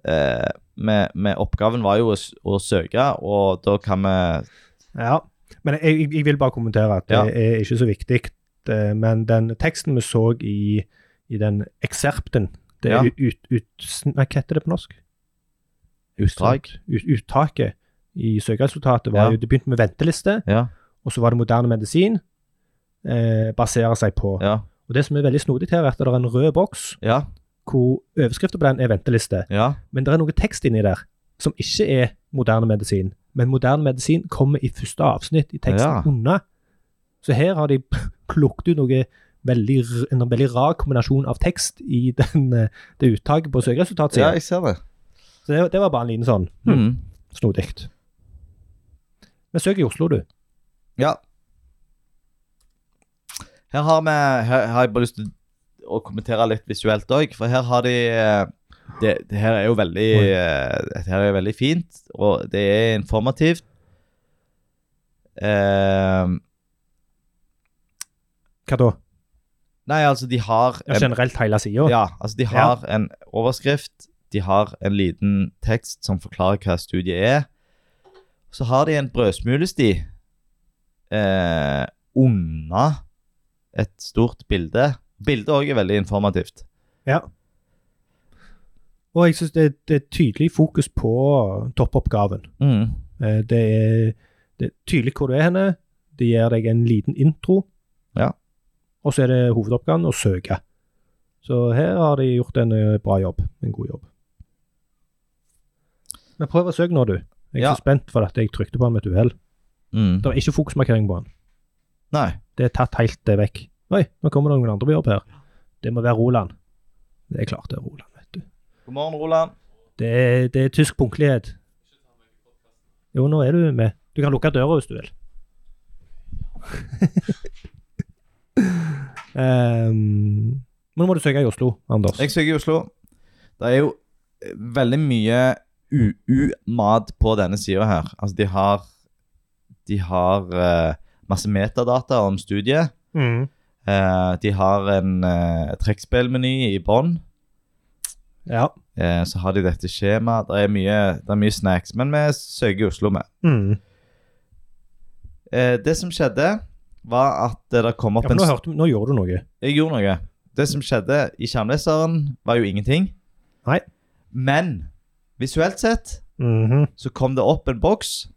eh, med, med oppgaven var jo å, s- å søke, og da kan vi Ja. Men jeg, jeg- jeg vil bare kommentere at det Ja. er ikke så viktig. eh, Men den teksten vi så i, i den ekserpten det er Ja. ut, ut, sn- nei, Hva heter det på norsk? Utdrag. Ut, uttaket i søkeresultatet var Ja. jo Det begynte med venteliste, Ja. og så var det moderne medisin. Eh, baserer seg på. Ja. Og Det som er veldig snodig her, er at det er en rød boks Ja. hvor overskriften på den er venteliste. ja. Men det er noe tekst inni der som ikke er moderne medisin. Men moderne medisin kommer i første avsnitt i teksten Ja. unna. Så her har de plukket ut noe veldig, r- en veldig rar kombinasjon av tekst i den, eh, det uttaket på søkeresultatet. Ja, sier. jeg ser det. Så det, det var bare en liten sånn hm, Mm. snodig. Men søk i Oslo, du. Ja. Her har, vi, her har jeg bare lyst til å kommentere litt visuelt òg, for her har de eh, det, det her er jo veldig Oi. eh, Dette her er jo veldig fint, og det er informativt. Eh, Hva da? nei, altså, de har Ja, generelt hele sida? Ja, altså de har en overskrift, de har en liten tekst som forklarer hva studiet er. Så har de en brødsmulesti eh, unna et stort bilde. Bildet òg er veldig informativt. Og jeg syns det, det er tydelig fokus på toppoppgaven. Mm. Eh, Det er, det er tydelig hvor du er henne. Det gir deg en liten intro. Ja. Og så er det hovedoppgaven å søke. Så her har de gjort en eh, bra jobb. En god jobb. Men prøv å søke nå, du. Jeg er Ja. så spent for at jeg trykte på den med et uhell. Mm. Det var ikke fokusmarkering på den. Nei. Det er tatt helt eh, vekk. Oi, nå kommer det noen andre på jobb her. Det må være Roland. Det er klart det er Roland, vet du. God morgen, Roland. Det er, det er tysk punktlighet. Jo, nå er du med. Du kan lukke døra hvis du *laughs* vil. Ehm, men nå må du søke i Oslo, Anders. Jeg søker i Oslo. Det er jo eh, veldig mye UU-mat på denne sida her. Altså, de har De har eh, masse metadata om studiet. Mm. Eh, de har en eh, trekkspillmeny i bånn. Ja. Eh, så har de dette skjemaet. Det er mye, det er mye snacks, men vi søker Oslo med. Mm. Eh, det som skjedde, var at eh, det kom ja opp for en nå, s- hørte, nå gjorde du noe. Jeg gjorde noe. Det som skjedde i skjermleseren, var jo ingenting. Nei. Men visuelt sett Mhm. så kom det opp en boks.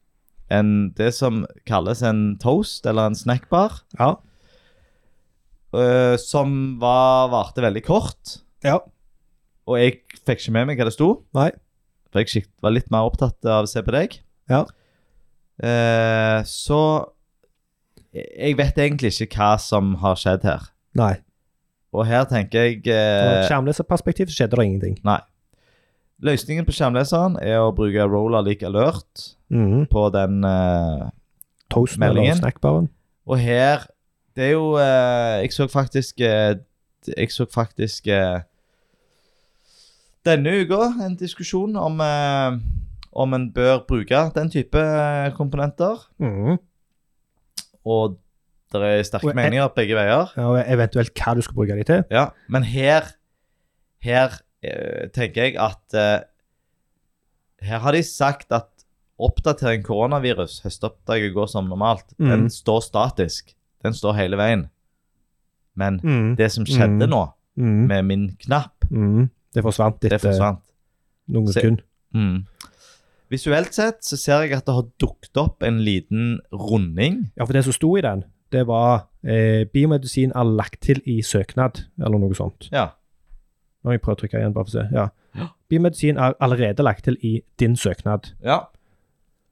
En, det som kalles en toast, eller en snackbar, Ja. eh, som var, varte veldig kort. Ja. Og jeg fikk ikke med meg hva det sto. Nei. For jeg skikt- var litt mer opptatt av å se på deg. Ja. Eh, så jeg vet egentlig ikke hva som har skjedd her. Nei. Og her tenker jeg Fra et eh, skjermleserperspektiv så skjedde det ingenting. Løsningen på skjermleseren er å bruke roller lik alert Mhm. på den. Eh, Toasten eller Mm. Meldingen. snackbaren. og her Det er jo eh, Jeg så faktisk eh, Jeg så faktisk eh, denne uka en diskusjon om eh, om en bør bruke den type eh, komponenter. Mm. Mhm. og det er sterke Og jeg- meninger begge veier. Ja, og eventuelt hva du skal bruke de til. Ja, men her her eh, tenker jeg at eh, her har de sagt at oppdatering koronavirus, høstoppdraget går som normalt, den Mhm. står statisk. Den står hele veien. Men Mhm. det som skjedde Mhm. nå, Mhm. med min knapp, Mhm. Det forsvant Mm. eh, det etter forsvant. noen Se- sekunder. Mm. Visuelt sett så ser jeg at det har dukket opp en liten runding. Ja, for det som sto i den, det var eh, 'Biomedisin er lagt til i søknad', eller noe sånt. Ja. Nå må jeg prøve å trykke igjen, bare for å se. Ja. Ja. Biomedisin er allerede lagt til i din søknad. ja.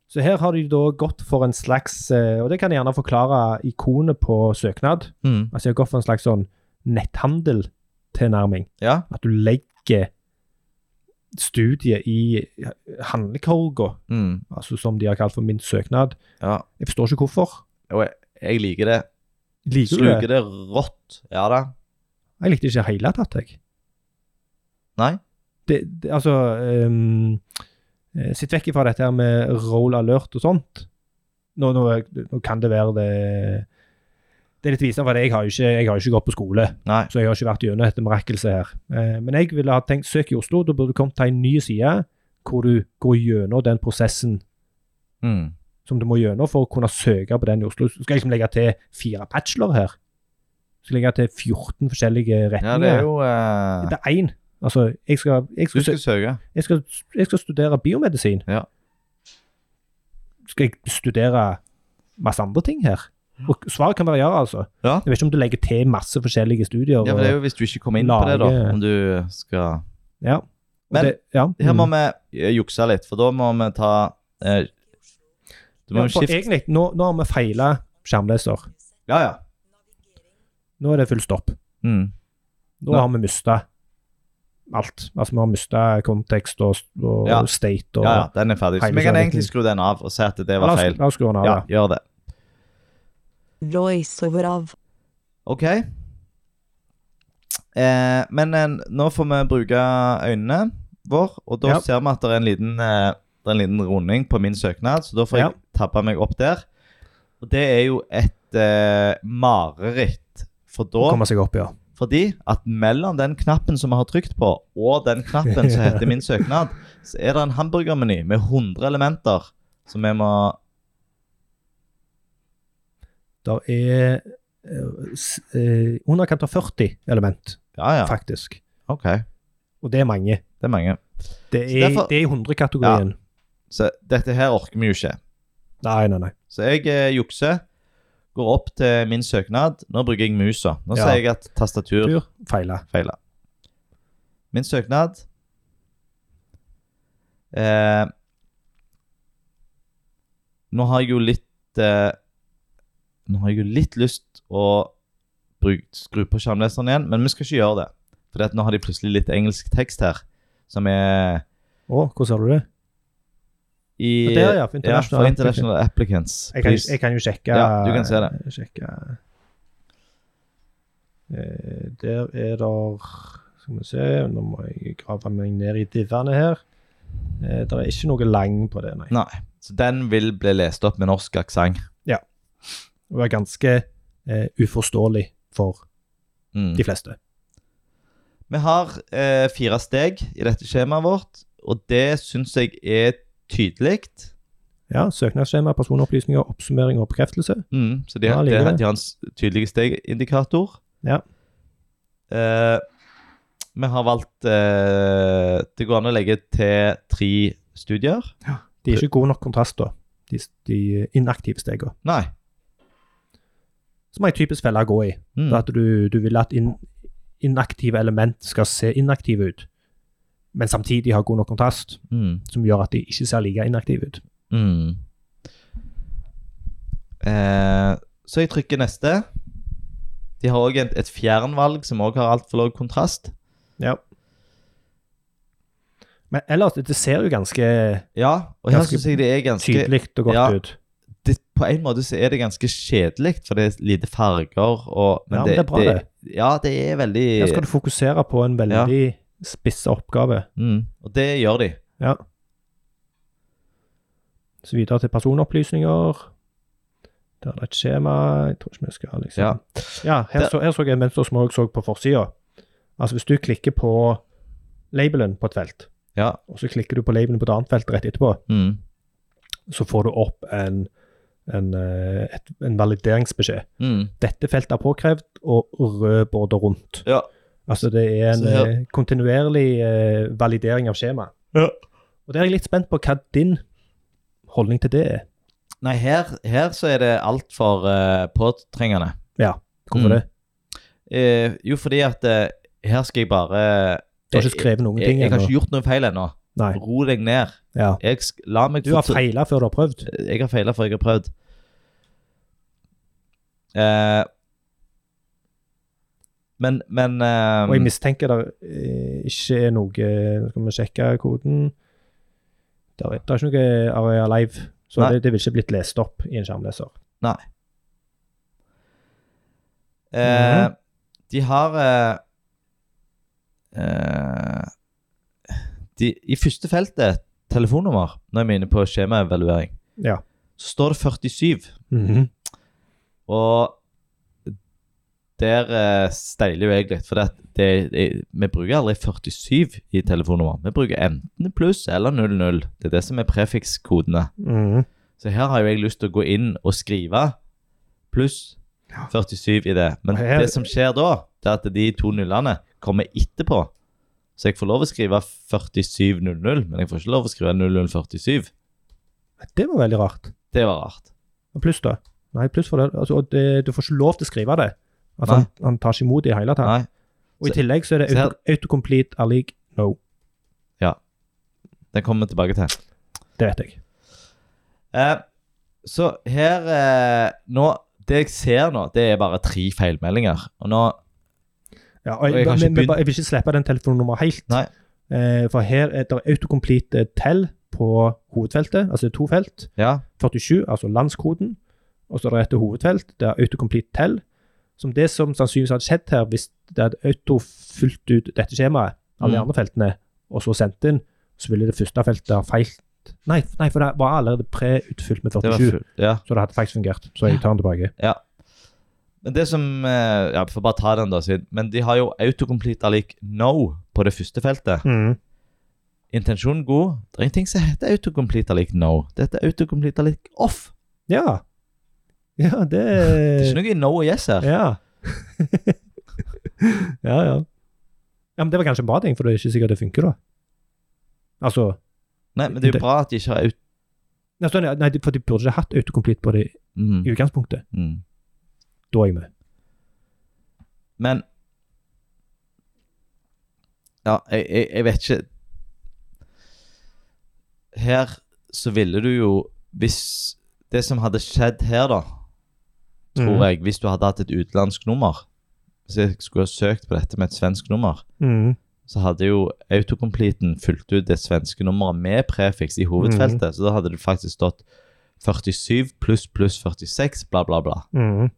Så her har de da gått for en slags eh, Og det kan jeg gjerne forklare ikonet på søknad. Mm. Altså, jeg har gått for en slags sånn netthandel-tilnærming. Ja. At du legger studiet i eh, handlekorga, Mm. altså som de har kalt for min søknad. ja. Jeg forstår ikke hvorfor. Og jeg, jeg liker det. Liker du Sluker det? det rått. Ja da. Jeg likte ikke i det hele tatt, jeg. Nei. det, det, altså ehm, eh, Sitt vekk fra dette her med roll alert og sånt. Nå, nå, nå kan det være det Det er litt visende, for jeg har jo ikke, jeg har jo ikke gått på skole. Nei. Så jeg har ikke vært gjennom dette mirakelset her. Eh, men jeg ville ha tenkt søk i Oslo. Da burde du kommet til en ny side hvor du går gjennom den prosessen Mm. som du må gjennom for å kunne søke på den i Oslo. Så skal jeg liksom legge til fire bachelor her. Skal jeg legge til 14 forskjellige Ja, det er retninger. jo eh, det er én. Altså, jeg skal, jeg Du skal, sø- skal søke. jeg skal, jeg skal studere biomedisin. Ja. Skal jeg studere masse andre ting her? Og svaret kan variere, altså. Ja. Jeg vet ikke om du legger til masse forskjellige studier. Ja, for det er jo hvis du ikke kommer inn på det, da. Lage- Om du skal Ja. Og Men det, ja. Her må mm. vi eh, jukse litt, for da må vi ta eh, Da må ja, vi for skifte egentlig, nå, nå har vi feila skjermleser. Ja, ja. Nå er det full stopp. Mm. Nå Nei. har vi mista alt. Altså, vi har mista kontekst og, og Ja. state og Ja, ja, den er ferdig. Så Hele vi kan kjøringen. egentlig skru den av og si at det La var oss- feil. La oss skru den av. Ja, Ja. gjør det. voiceover av, OK. Eh, men eh, nå får vi bruke øynene våre, og da Ja. ser vi at det er en liten, eh, det er en liten runding på min søknad, så da får Ja. jeg tabbe meg opp der. Og det er jo et eh, mareritt, for da Komme seg opp, ja. Fordi at mellom den knappen som vi har trykt på, og den knappen som heter min søknad, så er det en hamburgermeny med 100 elementer som vi må Der er eh, s- eh, underkant av 40 element, Ja, ja. faktisk. OK. Og det er mange. Det er mange. Det Så er, derfor- det er i 100-kategorien. Så dette her orker vi jo ikke. Nei, nei, nei. Så jeg eh, jukser. Går opp til min søknad. Nå bruker jeg musa. Nå Ja. sier jeg at tastatur Tur feila. feila. Min søknad eh, Nå har jeg jo litt eh, Nå har jeg jo litt lyst å bruke, skru på skjermleseren igjen, men vi skal ikke gjøre det. For nå har de plutselig litt engelsk tekst her, som er Å, hvordan ser du det? i Der, ja. For Ja, for international. International Applicants. Jeg kan, Please. jeg kan jo sjekke Ja, du kan se det. Sjekke. Eh, Der er der Skal vi se, nå må jeg grave meg ned i divene her. Eh, Det er ikke noe lang på det, nei. Så den vil bli lest opp med norsk aksent. Det er ganske eh, uforståelig for Mm. de fleste. Vi har eh, fire steg i dette skjemaet vårt, og det syns jeg er tydelig. Ja, Søknadsskjema, personopplysninger, oppsummering og bekreftelse. Mm. Så de, har- Ja, de, liker har- det. de har en s- tydelig stegindikator. Ja. Eh, vi har valgt eh, Det går an å legge til tre studier. De er ikke gode nok kontraster, de, de inaktive stegene. Nei. Som er en typisk felle å gå i. Mm. Det er at du, du vil at in, inaktive element skal se inaktive ut, men samtidig ha god nok kontrast, Mm. som gjør at de ikke ser like inaktive ut. Mm. Eh, så jeg trykker neste. De har òg et, et fjernvalg som òg har altfor lav kontrast. Ja. Men ellers, det ser jo ganske Ja, og her Ganske syns jeg det er ganske tydelig og godt ja, ut. det, På en måte så er det ganske kjedelig, for det er lite farger og Ja, men det er bra, Ja, det er veldig Her skal du fokusere på en veldig spissa oppgave. mm, Og det gjør de. Ja. Så videre til personopplysninger. Der er det et skjema. Jeg tror ikke vi skal liksom Ja. Ja, her, Der- så, her så jeg mønster som jeg også så på forsida. Altså, hvis du klikker på labelen på et felt, Ja. og så klikker du på labelen på et annet felt rett etterpå, Mm, så får du opp en, en, eh, et, en valideringsbeskjed. mm, Dette feltet er påkrevd, og rød border rundt. ja. Altså det er en Så her- eh, kontinuerlig eh, validering av skjema. Ja. Og det er jeg litt spent på hva din holdning til det er. Nei, her, her så er det altfor uh, påtrengende. Hvorfor Mm. det? Eh, jo, fordi at eh, her skal jeg bare Du har ikke skrevet noen Jeg, ting jeg har ennå. ikke gjort noe feil ennå. Nei. Ro deg ned. Ja. Jeg, sk- la meg Du har fortr- feila før du har prøvd. Jeg har feila, for jeg har prøvd. Eh, men men eh, Og jeg mistenker det eh, ikke er noe Nå skal vi sjekke koden. Det er, det er ikke noe Area Live, så Nei. det, det vil ikke blitt lest opp i en skjermleser. eh, De har eh, eh, de, I første feltet, telefonnummer, når vi er inne på skjemaevaluering, Ja. så står det 47. Mhm. Og der eh, steiler jo jeg litt, for det, at det, det- vi bruker aldri 47 i telefonnummer. Vi bruker enten pluss eller 00. Det er det som er prefikskodene. Mhm. Så her har jo jeg lyst til å gå inn og skrive pluss 47 i det. Men Her- det som skjer da, det er at de to nullene kommer etterpå. Så jeg får lov å skrive 4700, men jeg får ikke lov å skrive 0047. Det var veldig rart. Det var rart. Og pluss, da? Nei, pluss for det. Altså, og det du får ikke lov til å skrive det. At han, han tar ikke imot det i det hele tatt. Nei. Og i tillegg så er det Så her- auto, autocomplete er lik no. Den kommer vi tilbake til. Det vet jeg. Eh, så her eh, Nå Det jeg ser nå, det er bare tre feilmeldinger. Og nå Ja, og jeg, Og jeg har ikke men- men begynt- bare- jeg vil ikke slippe den telefonnummeret helt. Nei. Eh, for her er det autocomplete eh, tell på hovedfeltet, altså det er to felt. Ja, 47, altså landskoden, og så er det et hovedfelt, det er autocomplete tell, som det som sannsynligvis hadde skjedd her hvis det hadde autofylt ut dette skjemaet, alle de Mm. andre feltene, og så sendt inn, så ville det første feltet ha feilt. Nei, nei, for det var allerede pre-utfylt med det var 47, full. Ja. så det hadde faktisk fungert. Så jeg tar den tilbake. Men det som eh, Ja, vi får bare ta den, da. Siden. Men de har jo autocomplete lik no på det første feltet. Intensjonen god. Det er ingenting som heter autocomplete lik no. Det heter autocomplete lik off. Ja. Ja, det *laughs* Det er ikke noe i no og yes her. Eh, Ja. *laughs* ja, ja. Ja, men det var kanskje en bra ting, for det er ikke sikkert det funker, da. Altså Nei, men det er det- jo bra at de ikke har aut... Nei, sånn, ja, nei, de- for de burde ikke hatt autocomplete på det i Mm, utgangspunktet. mm. Da er jeg med. Men Ja, jeg, jeg, jeg vet ikke Her så ville du jo Hvis Det som hadde skjedd her, da, Mhm. tror Mm. jeg Hvis du hadde hatt et utenlandsk nummer Hvis jeg skulle ha søkt på dette med et svensk nummer, Mm. så hadde jo autocompleten fulgt ut det svenske nummeret med prefiks i hovedfeltet. Så da hadde det faktisk stått 47 pluss pluss 46, bla, bla, bla. Mm.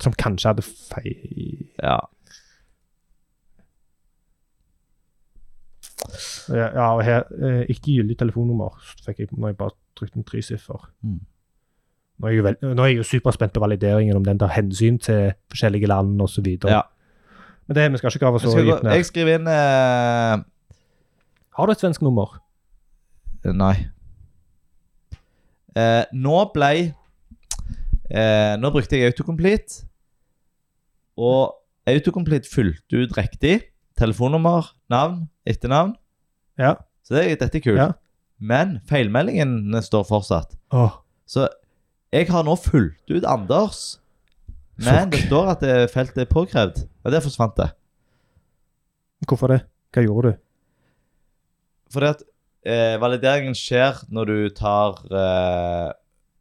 Som kanskje hadde feil Ja. Ja, ja, og her eh, Ikke gyldig telefonnummer, så fikk jeg når jeg bare trykte en tresiffer. Mm. Nå er jeg jo vel- nå er jeg jo superspent på valideringen, om den tar hensyn til forskjellige land osv. Ja. Men det vi skal ikke grave Jeg, så skal gå, dypt ned. jeg skriver inn eh, Har du et svensk nummer? Nei. Eh, nå ble eh, Nå brukte jeg autocomplete. Og autocomplete fulgte ut riktig. Telefonnummer, navn, etternavn. Ja. Så det, dette er kult. Ja. Men feilmeldingene står fortsatt. Åh, Så jeg har nå fulgt ut Anders. Men Fuck. det står at det feltet er påkrevd. Og der forsvant det. hvorfor det? Hva gjorde du? Fordi at eh, valideringen skjer når du tar eh,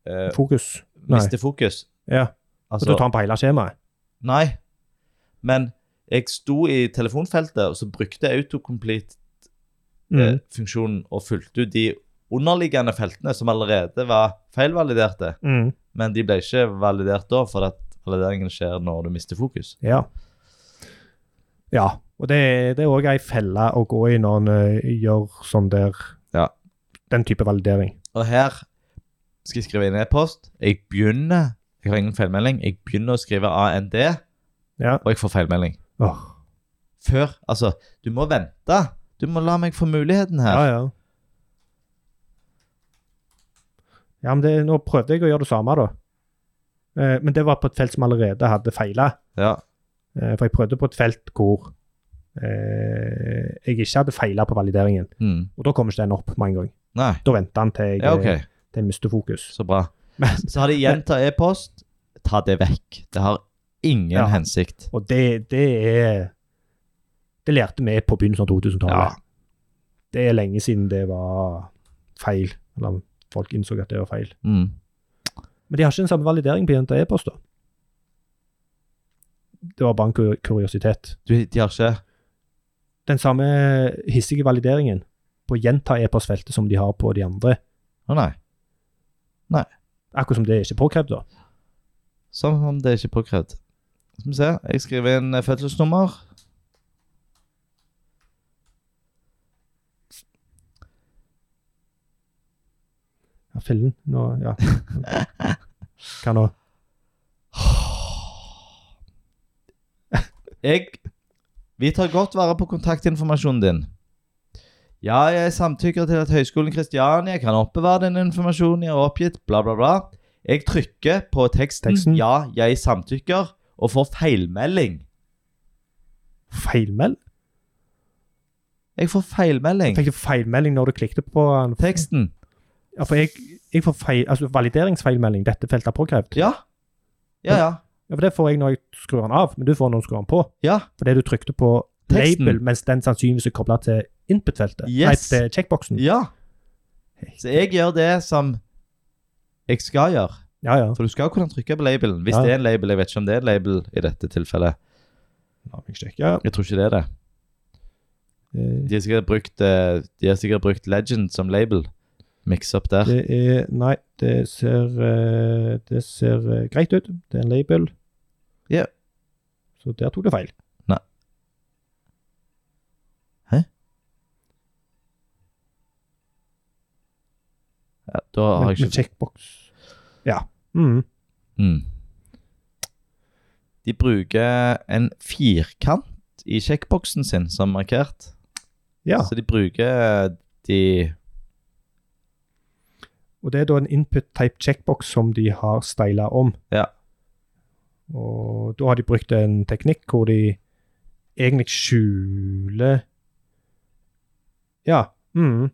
eh, Fokus? Nei. Mister fokus. Ja. Altså, Så du tar den på hele skjemaet? Nei. Men jeg sto i telefonfeltet, og så brukte jeg autocomplete-funksjonen Mm. og fulgte ut de underliggende feltene som allerede var feilvaliderte. Mm. Men de ble ikke validert da, for at valideringen skjer når du mister fokus. Ja. Ja, og det, det er òg ei felle å gå i når en eh, gjør sånn der Ja. Den type validering. Og her skal jeg skrive inn e-post. Jeg begynner Jeg har ingen feilmelding. Jeg begynner å skrive AND, Ja. og jeg får feilmelding. Åh. Før Altså, du må vente. Du må la meg få muligheten her. Ja, ja. Ja, men det, nå prøvde jeg å gjøre det samme, da. Eh, men det var på et felt som allerede hadde feila. Ja. Eh, for jeg prøvde på et felt hvor eh, jeg ikke hadde feila på valideringen. Mm. Og da kommer ikke den opp med en gang. Nei. Da venter han til jeg, Ja, OK. til jeg mister fokus. Så bra. Men, Så har de gjenta e-post. Ta det vekk. Det har ingen Ja. hensikt. Og det, det er Det lærte vi på begynnelsen av 2000-tallet. Ja. Det er lenge siden det var feil. Eller folk innså at det var feil. Mm. Men de har ikke den samme validering på jenta e-post, da. Det var bare en kur kuriositet. Du, de har ikke Den samme hissige valideringen på gjenta e-postfeltet som de har på de andre. Å nei. Akkurat som det er ikke påkrevd, da. Som om det ikke er påkrevd. Skal vi se. Jeg skriver inn eh, fødselsnummer. Ja, fillen. Nå, ja. Hva nå? Jeg Vi tar godt vare på kontaktinformasjonen din. Ja, jeg samtykker til at Høgskolen Kristiania kan oppbevare den informasjonen jeg har oppgitt, bla, bla, bla. Jeg trykker på teksten, Teksten. Ja, jeg samtykker, og får feilmelding. Feilmeld? Jeg får feilmelding. Fikk du feilmelding når du klikket på den? Teksten. Ja, for jeg, jeg får feil, altså valideringsfeilmelding. Dette feltet er påkrevd. Ja. Ja, ja. Ja, for Det får jeg når jeg skrur den av, men du får når du skrur den på. Ja. Fordi du trykte på Teksten. label, mens den sannsynligvis er kobla til input-feltet. Nei, Yes. til checkboxen. Ja. Så jeg gjør det som jeg skal gjøre. Ja, ja. For du skal kunne trykke på labelen. Hvis Ja. det er en label, jeg vet ikke om det er en label i dette tilfellet. Ja, Jeg tror ikke det er det. eh, De har sikkert brukt, eh, de har sikkert brukt Legend som label. Mix up der. det er Nei, det ser, eh, det ser eh, greit ut. Det er en label. Ja. Så der tok det feil. Nei. Hæ? Ja, da har Men, jeg men ikke checkbox Ja. Mm. mm. De bruker en firkant i sjekkboksen sin som markert. ja. Så de bruker de Og det er da en input type checkbox som de har styla om. Ja. Og da har de brukt en teknikk hvor de egentlig skjuler Ja. Mm.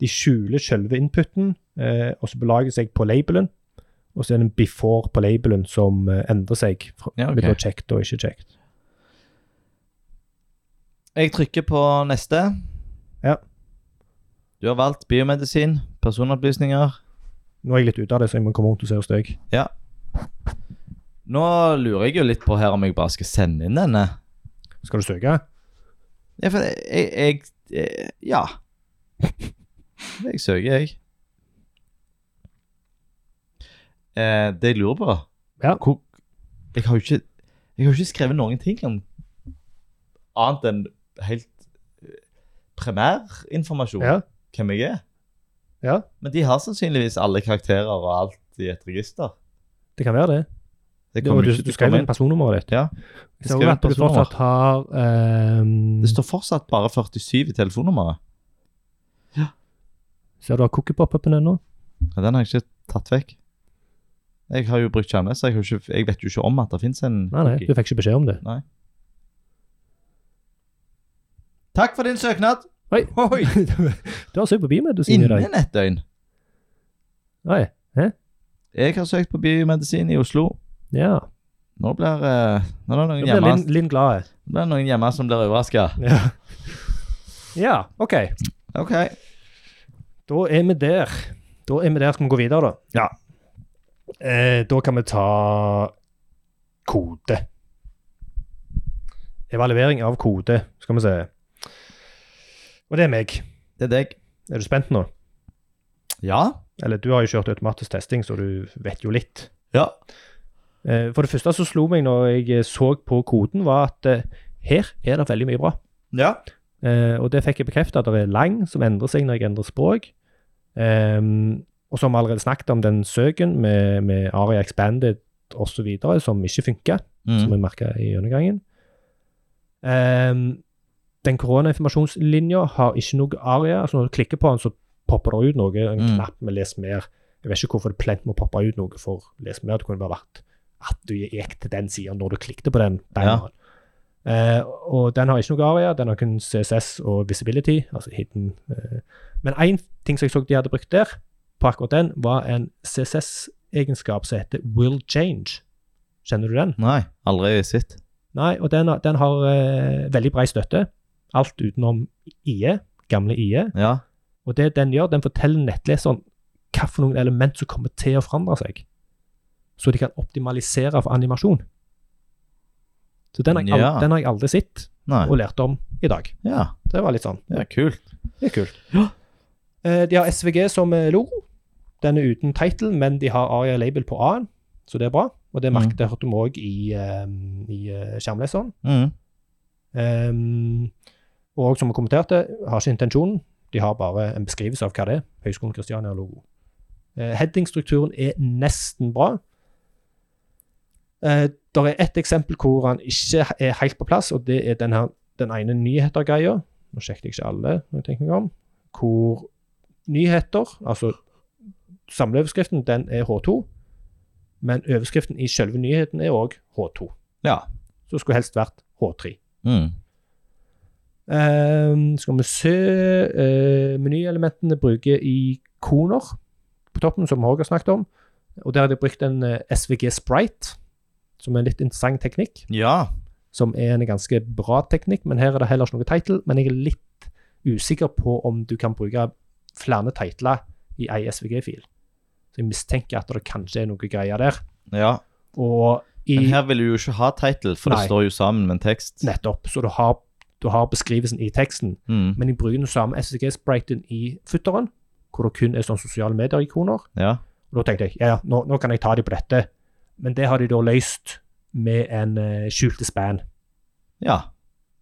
De skjuler selve inputen, eh, og så belager seg på labelen. Og så er det en before på labelen som eh, endrer seg fra- Ja, ok. mellom checked og ikke checked. Jeg trykker på neste. Ja. Du har valgt biomedisin, personopplysninger. Nå er jeg litt ute av det, så jeg må komme rundt og se hos deg. Ja. Nå lurer jeg jo litt på her om jeg bare skal sende inn denne. Skal du søke? Ja, for jeg, jeg, jeg *laughs* Ja. Jeg søker, jeg. Eh, det jeg lurer på Ja. hvor, Jeg har jo ikke Jeg har jo ikke skrevet noen ting om annet enn helt eh, primærinformasjon. Ja. Hvem jeg er. ja. Men de har sannsynligvis alle karakterer og alt i et register. Det kan være det. Det, Du, kommer du, ikke du til å skrev komme inn inn. personnummeret ditt. Ja. Jeg ser skrev jo inn at du personnummer. fortsatt har ehm, det står fortsatt bare 47 i telefonnummeret. Ser du har cookie pop-upen ennå? Ja, den har jeg ikke tatt vekk. Jeg har jo brukt kjerne, så jeg, har jo ikke, jeg vet jo ikke om at det finnes en Nei, nei, du cookie. fikk ikke beskjed om det. Takk for din søknad! Oi. Oi. *laughs* du har søkt på biomedisin i dag. Innen et døgn. Nei, Jeg har søkt på biomedisin i Oslo. ja. Nå blir, eh, nå er det Da noen blir hjemme, Linn, Linn glad. nå blir det noen hjemme som blir overraska. Ja. ja, OK. OK. Da er vi der. Da er vi der. Skal vi gå videre, da? Ja. Eh, da kan vi ta kode. Evaluering av kode, skal vi se. Og det er meg. Det er deg. Er du spent nå? Ja. Eller du har jo kjørt automatisk testing, så du vet jo litt. Ja. Eh, For det første som slo meg når jeg eh, så på koden, var at eh, her er det veldig mye bra. Ja. Eh, og det fikk jeg bekreftet at det er lang som endrer seg når jeg endrer språk. Ehm, og så har vi allerede snakket om den søken med, med Aria Expanded osv. som ikke funker, som Mm. vi merka i undergangen. Ehm, den koronainformasjonslinja har ikke noe aria. altså Når du klikker på den, så popper det ut noe. En Mm. knapp med 'les mer'. Jeg vet ikke hvorfor det plent må poppe ut noe for 'les mer'. Det kunne bare vært at du gikk til den sida når du klikket på den. banneren. Eh, og den har ikke noe aria. Den har kun CSS og visibility, altså hidden. eh. Men én ting som jeg så de hadde brukt der, på akkurat den, var en CSS-egenskap som heter will change. Kjenner du den? Nei, aldri sitt. Nei, og den, har- den har eh, veldig brei støtte. Alt utenom IE, gamle IE. Ja. Og det den gjør, den forteller nettleseren hva for noen element som kommer til å forandre seg. Så de kan optimalisere for animasjon. Så den har jeg, Ja. aldri, den har jeg aldri sett Nei. og lært om i dag. Ja. Det var litt sånn. ja kult. Det er kult. Ja. Eh, De har SVG som eh, logo. Den er uten title, men de har Aria Label på A-en, så det er bra. Og det merket jeg hørte vi òg i, eh, i eh, skjermleseren. Mm. Ehm, og som vi kommenterte, har ikke intensjonen. De har bare en beskrivelse av hva det er. Høgskolen Kristiania-logo. Uh, Headingstrukturen er nesten bra. Uh, der er ett eksempel hvor han ikke er helt på plass, og det er den, her, den ene nyheter-greia. Nå sjekket jeg ikke alle, når jeg tenker meg om. Hvor nyheter, altså samleoverskriften, den er H2. Men overskriften i selve nyheten er òg H2. Ja. Så skulle helst vært H3. Mm. Ehm, skal vi se eh, Menyelementene bruker ikoner på toppen, som Håge har snakket om. Og der har de brukt en eh, SVG Sprite, som er en litt interessant teknikk. Ja. Som er en ganske bra teknikk, men her er det heller ikke noe title. Men jeg er litt usikker på om du kan bruke flere titler i ei SVG-fil. Så Så jeg mistenker at det kanskje er noe greier der. Ja, Og i Men her vil du jo ikke ha title, for Nei. det står jo sammen med en tekst. Nettopp. Så du har, du har beskrivelsen i teksten. Mm. Men jeg bruker den samme SSG-spriten i futteren, hvor det kun er sånn sosiale medier-ikoner. Ja. Og da tenkte jeg ja, ja, nå, nå kan jeg ta de på dette. Men det har de da løst med en eh, skjulte span. ja.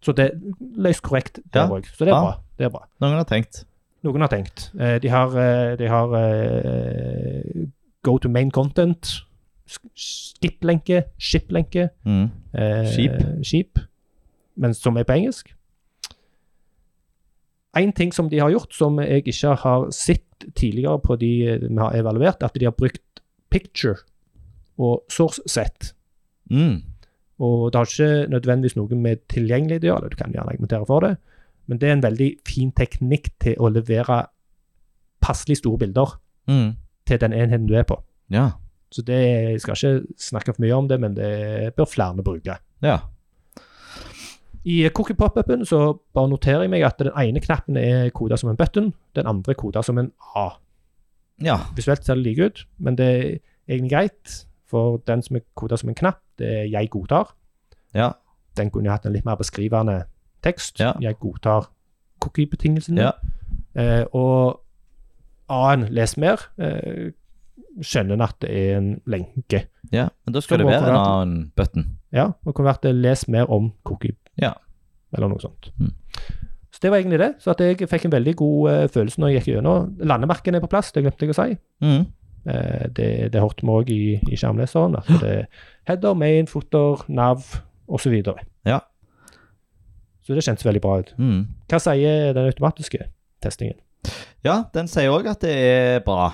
Så det er løst korrekt der Ja. òg. Så det er Ja. bra. Det er bra. Noen har tenkt. Noen har tenkt. Eh, de har, eh, de har eh, go to main content, sk- skip-lenke, ship-lenke. Mm. eh, Skip. skip, men som er på engelsk. En ting som de har gjort, som jeg ikke har sett tidligere på de vi har evaluert, at de har brukt picture og source set. Mm. Og det har ikke nødvendigvis noe med tilgjengelig å gjøre, du kan gjerne argumentere for det, men det er en veldig fin teknikk til å levere passelig store bilder Mm. til den enheten du er på. Ja. Så det, jeg skal ikke snakke for mye om det, men det bør flere bruke. Ja. I Cookie Pop-upen så bare noterer jeg meg at den ene knappen er koda som en button, den andre er koda som en A. Ja. Visuelt ser det like ut, men det er egentlig greit, for den som er koda som en knapp, det er 'jeg godtar'. Ja. Den kunne jo hatt en litt mer beskrivende tekst. Ja. 'Jeg godtar cookie-betingelsene'. Ja. Eh, og A-en, les mer, eh, skjønner en at det er en lenke. ja. Men da skal Så det være en hvorfor annen button. Ja, og kunne vært eh, 'les mer om cookie'. Ja. eller noe sånt. Mm. Så det var egentlig det. Så at jeg fikk en veldig god eh, følelse når jeg gikk gjennom. Landemerkene er på plass, det glemte jeg å si. Mm. Eh, det, det hørte vi òg i, i skjermleseren. At det er header, main, footer, nav osv. Så, videre. Ja. så det kjentes veldig bra ut. Mm. Hva sier den automatiske testingen? Ja, den sier òg at det er bra.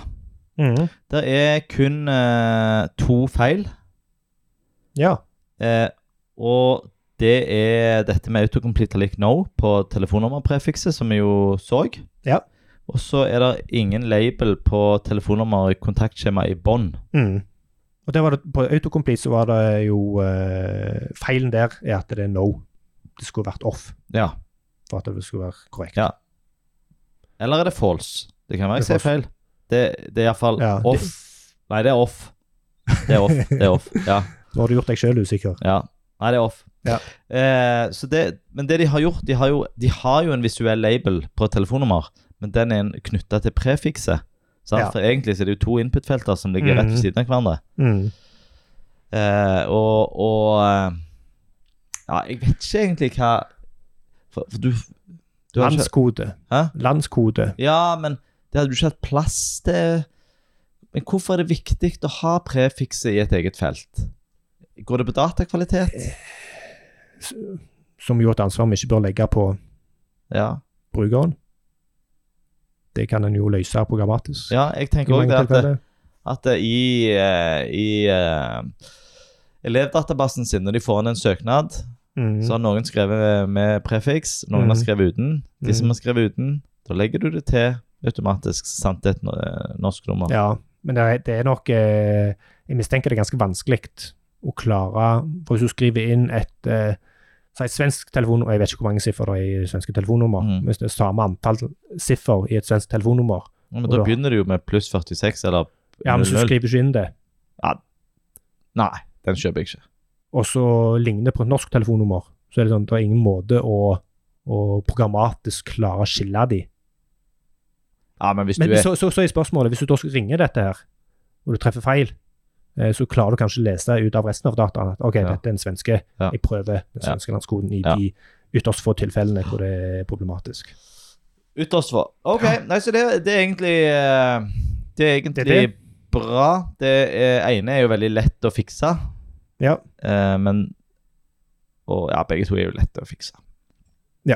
Mm. Det er kun eh, to feil, Ja. eh, og det er dette med autocomplete lik no på telefonnummerprefikset, som vi jo så. Ja. Og så er det ingen label på telefonnummer i kontaktskjema i bånd. Mm. Og det var det, på autocomplete så var det jo eh, Feilen der er at det er no. Det skulle vært off Ja. for at det skulle være korrekt. Ja. Eller er det false? Det kan være jeg Det er sier feil. Det, det er iallfall Ja, det- off. Nei, det er off. Det er off. Det er off. Ja. Nå har du gjort deg sjøl usikker. ja. Nei, det er off. Ja. Eh, så det, men det de har gjort, de har jo, de har jo en visuell label på et telefonnummer, men den er knytta til prefikset. sant? Ja. For egentlig så er det jo to input-felter som ligger rett Mhm. ved siden av hverandre. Eh, og og eh, Ja, jeg vet ikke egentlig hva For, for du, du har ikke- Landskode. Hæ? Landskode. Ja, men det hadde du ikke hatt plass til. Men hvorfor er det viktig å ha prefikset i et eget felt? Går det på datakvalitet? Eh, s- som jo et ansvar vi ikke bør legge på Ja, brukeren. Det kan en jo løse programmatisk. ja jeg i tenker mange òg det at, tilfeller. at det i, eh, i eh, elevdatabasen sin, når de får inn en søknad, Mm. så har noen skrevet med prefiks, noen har Mhm. skrevet uten. De som Mhm. har skrevet uten, da legger du det til automatisk, sant, det er et no- eh, norsk nummer. Ja, men det er, det er nok eh, Jeg mistenker det er ganske vanskelig å klare For hvis du skriver inn et eh, Si et svensk telefonnummer, jeg vet ikke hvor mange siffer det er i svenske telefonnummer, Mm. men hvis det er samme antall siffer i et svensk telefonnummer Men Og da da- begynner du jo med pluss 46, eller Ja, men så 00. skriver du ikke inn det, Nei, den kjøper jeg ikke. og så ligner det på et norsk telefonnummer, så er det sånn det er ingen måte å, å programmatisk klare å skille de. Ja, men hvis Men du er så, så, så er spørsmålet, hvis du da ringer dette her, og du treffer feil, eh, så klarer du kanskje å lese ut av resten av dataen at ok, Ja. dette er en svenske, Ja. jeg prøver den Ja. svenske landskoden i Ja. de ytterst få tilfellene hvor det er problematisk. Ytterst få. OK. Nei, så det, det er egentlig eh, Det er egentlig Det er det. bra. Det er, ene er jo veldig lett å fikse, Ja, eh, men Og ja, begge to er jo lette å fikse. Ja.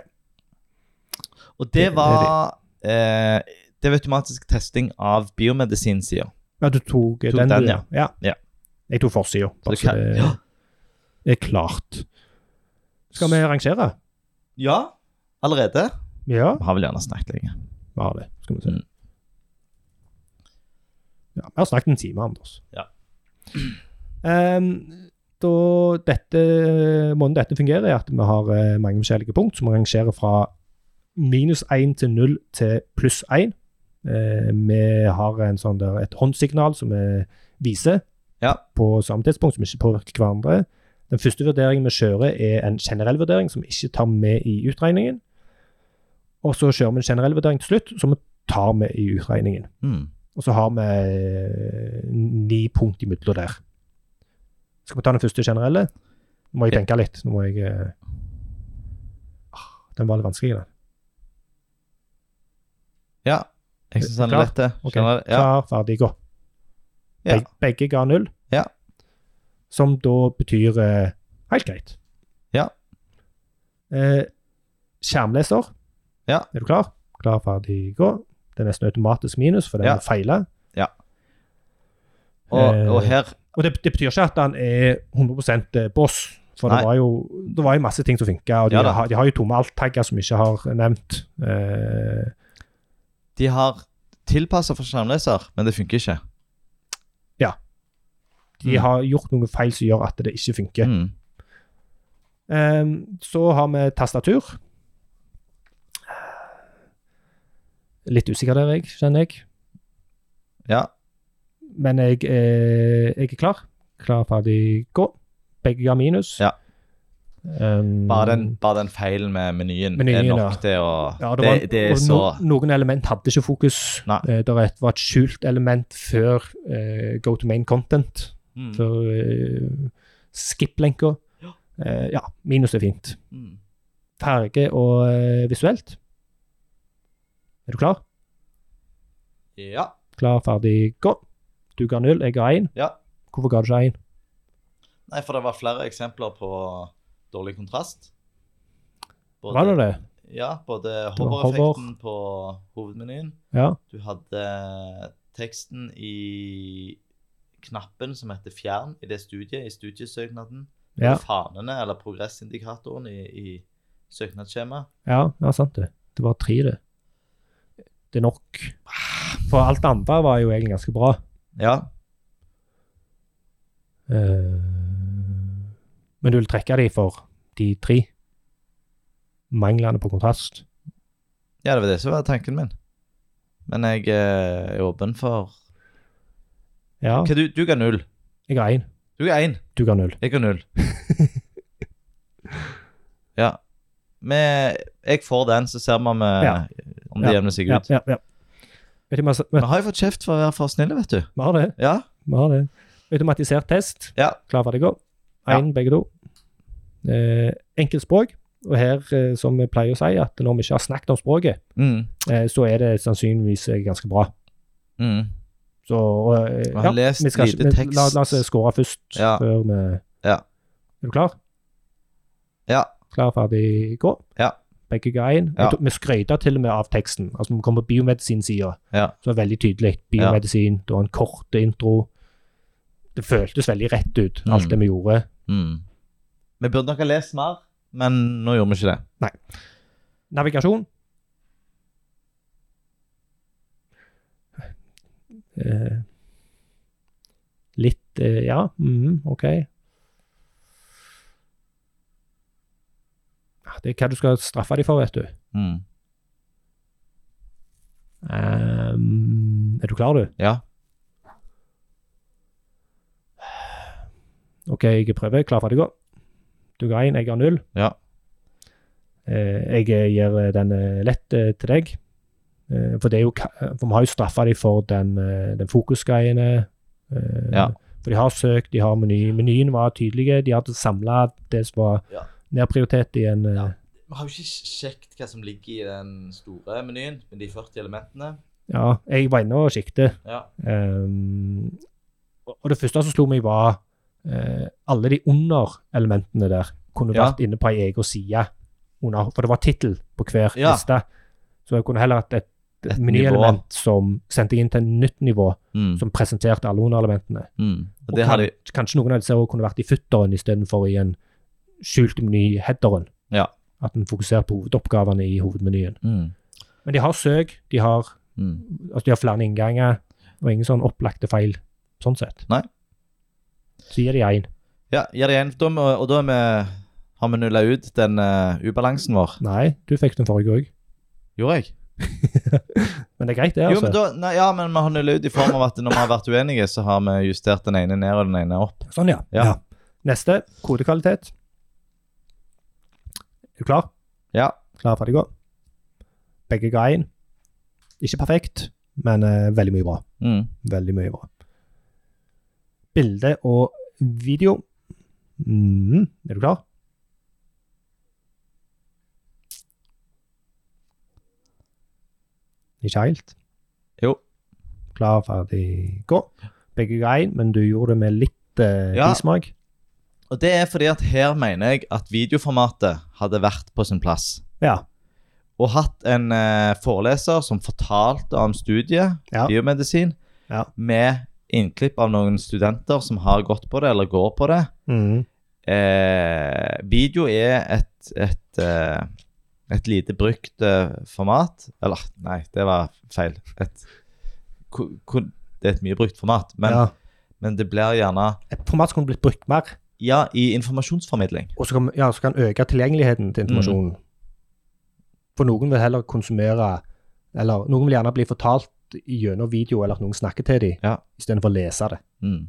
Og Det det er var eh, Det var automatisk testing av biomedisinsider. ja du tok, eh, Tok den, den, du, ja. ja. Ja. Jeg tok forsida, Så bare det så kan- det ja. er klart. Skal vi rangere? ja. Allerede? Ja, Vi har vel gjerne snakket lenge. vi har det. Skal vi se. Mm. Ja, vi har snakket en time, Anders. Ja. Ehm, da dette, måten dette fungerer, er at vi har eh, mange forskjellige punkt som rangerer fra minus 1 til 0 til pluss 1. Eh, vi har en sånn der, et håndsignal som vi viser Ja. på samme tidspunkt, som ikke påvirker hverandre. Den første vurderingen vi kjører, er en generell vurdering som vi ikke tar med i utregningen. Og så kjører vi en generell vurdering til slutt, som vi tar med i utregningen. Mm. Og så har vi eh, ni punkt imellom der. Skal vi ta den første generelle? Nå må jeg Ja. tenke litt. Nå må jeg eh, ah, Den var litt vanskelig, den. Ja, jeg syns han er Klar? lett, det. Ok. Skjønner du? Ja. Klar, ferdig, gå. Ja. Beg- Begge ga null. Ja. Som da betyr eh, helt greit. Ja. Eh, skjermleser. Ja. Er du klar? Klar, ferdig, gå. Det er nesten automatisk minus, for den Ja. ja. feiler. Og, og Eh, her Og det, det betyr ikke at han er 100 boss, for det Nei. var, jo, det var jo masse ting som funka, og de, Ja da. har, de har jo tomme alt-tagger som vi ikke har nevnt. Eh, De har tilpassa for skjermleser, men det funker ikke. de Mm. har gjort noen feil som gjør at det ikke funker. Mm. Eh, så har vi tastatur. Litt usikker der, jeg, kjenner jeg. Ja. Men jeg, eh, jeg er klar. Klar, ferdig, gå. Begge ga minus. Ja. Um, Bare den, bare den feilen med menyen, Menyen, er ja. nok til å Ja, det, det, var, det, er og så no, Noen element hadde ikke fokus. Nei. Eh, det var et- var et skjult element før eh, go to main content, mm. før eh, skip-lenka. Eh, ja, minus er fint. Mm. Farge og eh, visuelt. Er du klar? Ja. Klar, ferdig, gå. Du ga null, jeg ga én. Ja. Hvorfor ga du ikke én? Nei, for det var flere eksempler på dårlig kontrast. Både- Var det det? Ja, både var hover-effekten på hovedmenyen. Ja. Du hadde teksten i knappen som heter fjern i det studiet, i studiesøknaden. Ja, Og Fanene, eller progressindikatoren, i, i søknadsskjemaet. ja, ja sant det. Det var tre, det. Det er nok. Ah. For alt det andre var jo egentlig ganske bra. Ja. Eh, Men du vil trekke de for de tre manglene på kontrast. ja, det var det som var tanken min. Men jeg eh, er åpen for Ja, Hva, du, du ga null. jeg ga én, Du ga én. du ga null. Jeg ga *laughs* null. ja. Men jeg får den, så ser vi om, eh, Ja. om det Ja. jevner seg Ja, ut. ja, ja. Vet du, hva- Vi vet- har jo fått kjeft for å være for snille, vet du. vi har det. Ja. Vi har det. Automatisert test. Ja. Klar, ferdig, gå. Én, begge to. Eh, enkelt språk. Og her, eh, som vi pleier å si, at når vi ikke har snakket om språket, Mm. eh, så er det sannsynligvis eh, ganske bra. Mm. Så og, eh, Og har lest vi skal lite ikke- vi- tekst. La, la oss eh, score først, Ja. før vi Ja. Er du klar? Ja. Klar, ferdig, gå. Ja. Begge ga inn. Ja. Jeg tror- Vi skrøter til og med av teksten. Altså, når vi kommer på biomedisinsida, Ja. så er det veldig tydelig. Biomedisin, det var en kort intro. Det føltes veldig rett ut, alt Mm. det vi gjorde. Mm. Vi burde nok ha lest mer, men nå gjorde vi ikke det. Navigasjon. Eh, litt eh, Ja, mhm, OK. Ah, Det er hva du skal straffe dem for, vet du. Mm. Ehm, er du klar, du? Ja. OK, jeg prøver. Klar, ferdig, gå. Du ga én, jeg ga null. Ja. Eh, jeg eh, gir eh, den eh, lett eh, til deg. Eh, for, det er jo, ka- for vi har jo straffa dem for den, eh, den fokusgreiene. Eh, Ja. For de har søkt, de har meny. Menyen var tydelige. De hadde samla det som var Ja. nedprioritet i en eh, Ja. Vi har jo ikke sjekket hva som ligger i den store menyen, med de 40 elementene. ja, jeg var inne og siktet. Ja. Ehm, og og det første som slo meg, var eh, alle de underelementene der kunne Ja. vært inne på ei egen side. Under, for det var tittel på hver Ja. liste. Så jeg kunne heller hatt et, Et menyelement som sendte jeg inn til et nytt nivå, Mm. som presenterte alle underelementene. Mm. Og Og det har de kan- Kanskje noen av disse også kunne vært i futteren istedenfor i en skjult meny i headeren. Ja. At en fokuserer på hovedoppgavene i hovedmenyen. mm. Men de har søk, de har Mm. Altså, de har flere innganger, og ingen sånn opplagte feil, sånn sett. Nei. Så gir de én. Ja, gjør det igjen. Da, må- og da er vi, har vi nulla ut den eh, ubalansen vår. Nei, du fikk den forrige òg. Gjorde jeg? Men det er greit, det, Jo, men altså. da, nei, ja, men vi har nulla ut i form av at når vi har vært uenige, så har vi justert den ene ned og den ene opp. Sånn, ja. Ja. ja. Neste. Kodekvalitet. Er du klar? Ja. Klar, ferdig, gå. Begge ga inn. Ikke perfekt, men eh, veldig mye bra. Mm. Veldig mye bra. Bilde og video. Mm, er du klar? Ikke helt. Jo. Klar, ferdig, gå. Begge ga inn, men du gjorde det med litt eh, Ja. bismak. Og det er fordi at her mener jeg at videoformatet hadde vært på sin plass. Ja. Og hatt en eh, foreleser som fortalte om studiet, Ja. biomedisin, Ja. med innklipp av noen studenter som har gått på det, eller går på det. Mm. Eh, video er et, et, eh, et lite brukt eh, format. Eller, nei, det var feil. Et, ko- ko- det er et mye brukt format, men, ja. men det blir gjerne Et format som kunne blitt brukt mer, Ja, i informasjonsformidling. og så kan, ja, så kan øke tilgjengeligheten til informasjonen. For noen vil heller konsumere Eller noen vil gjerne bli fortalt gjennom video, eller at noen snakker til dem, Ja. istedenfor å lese det. Mm.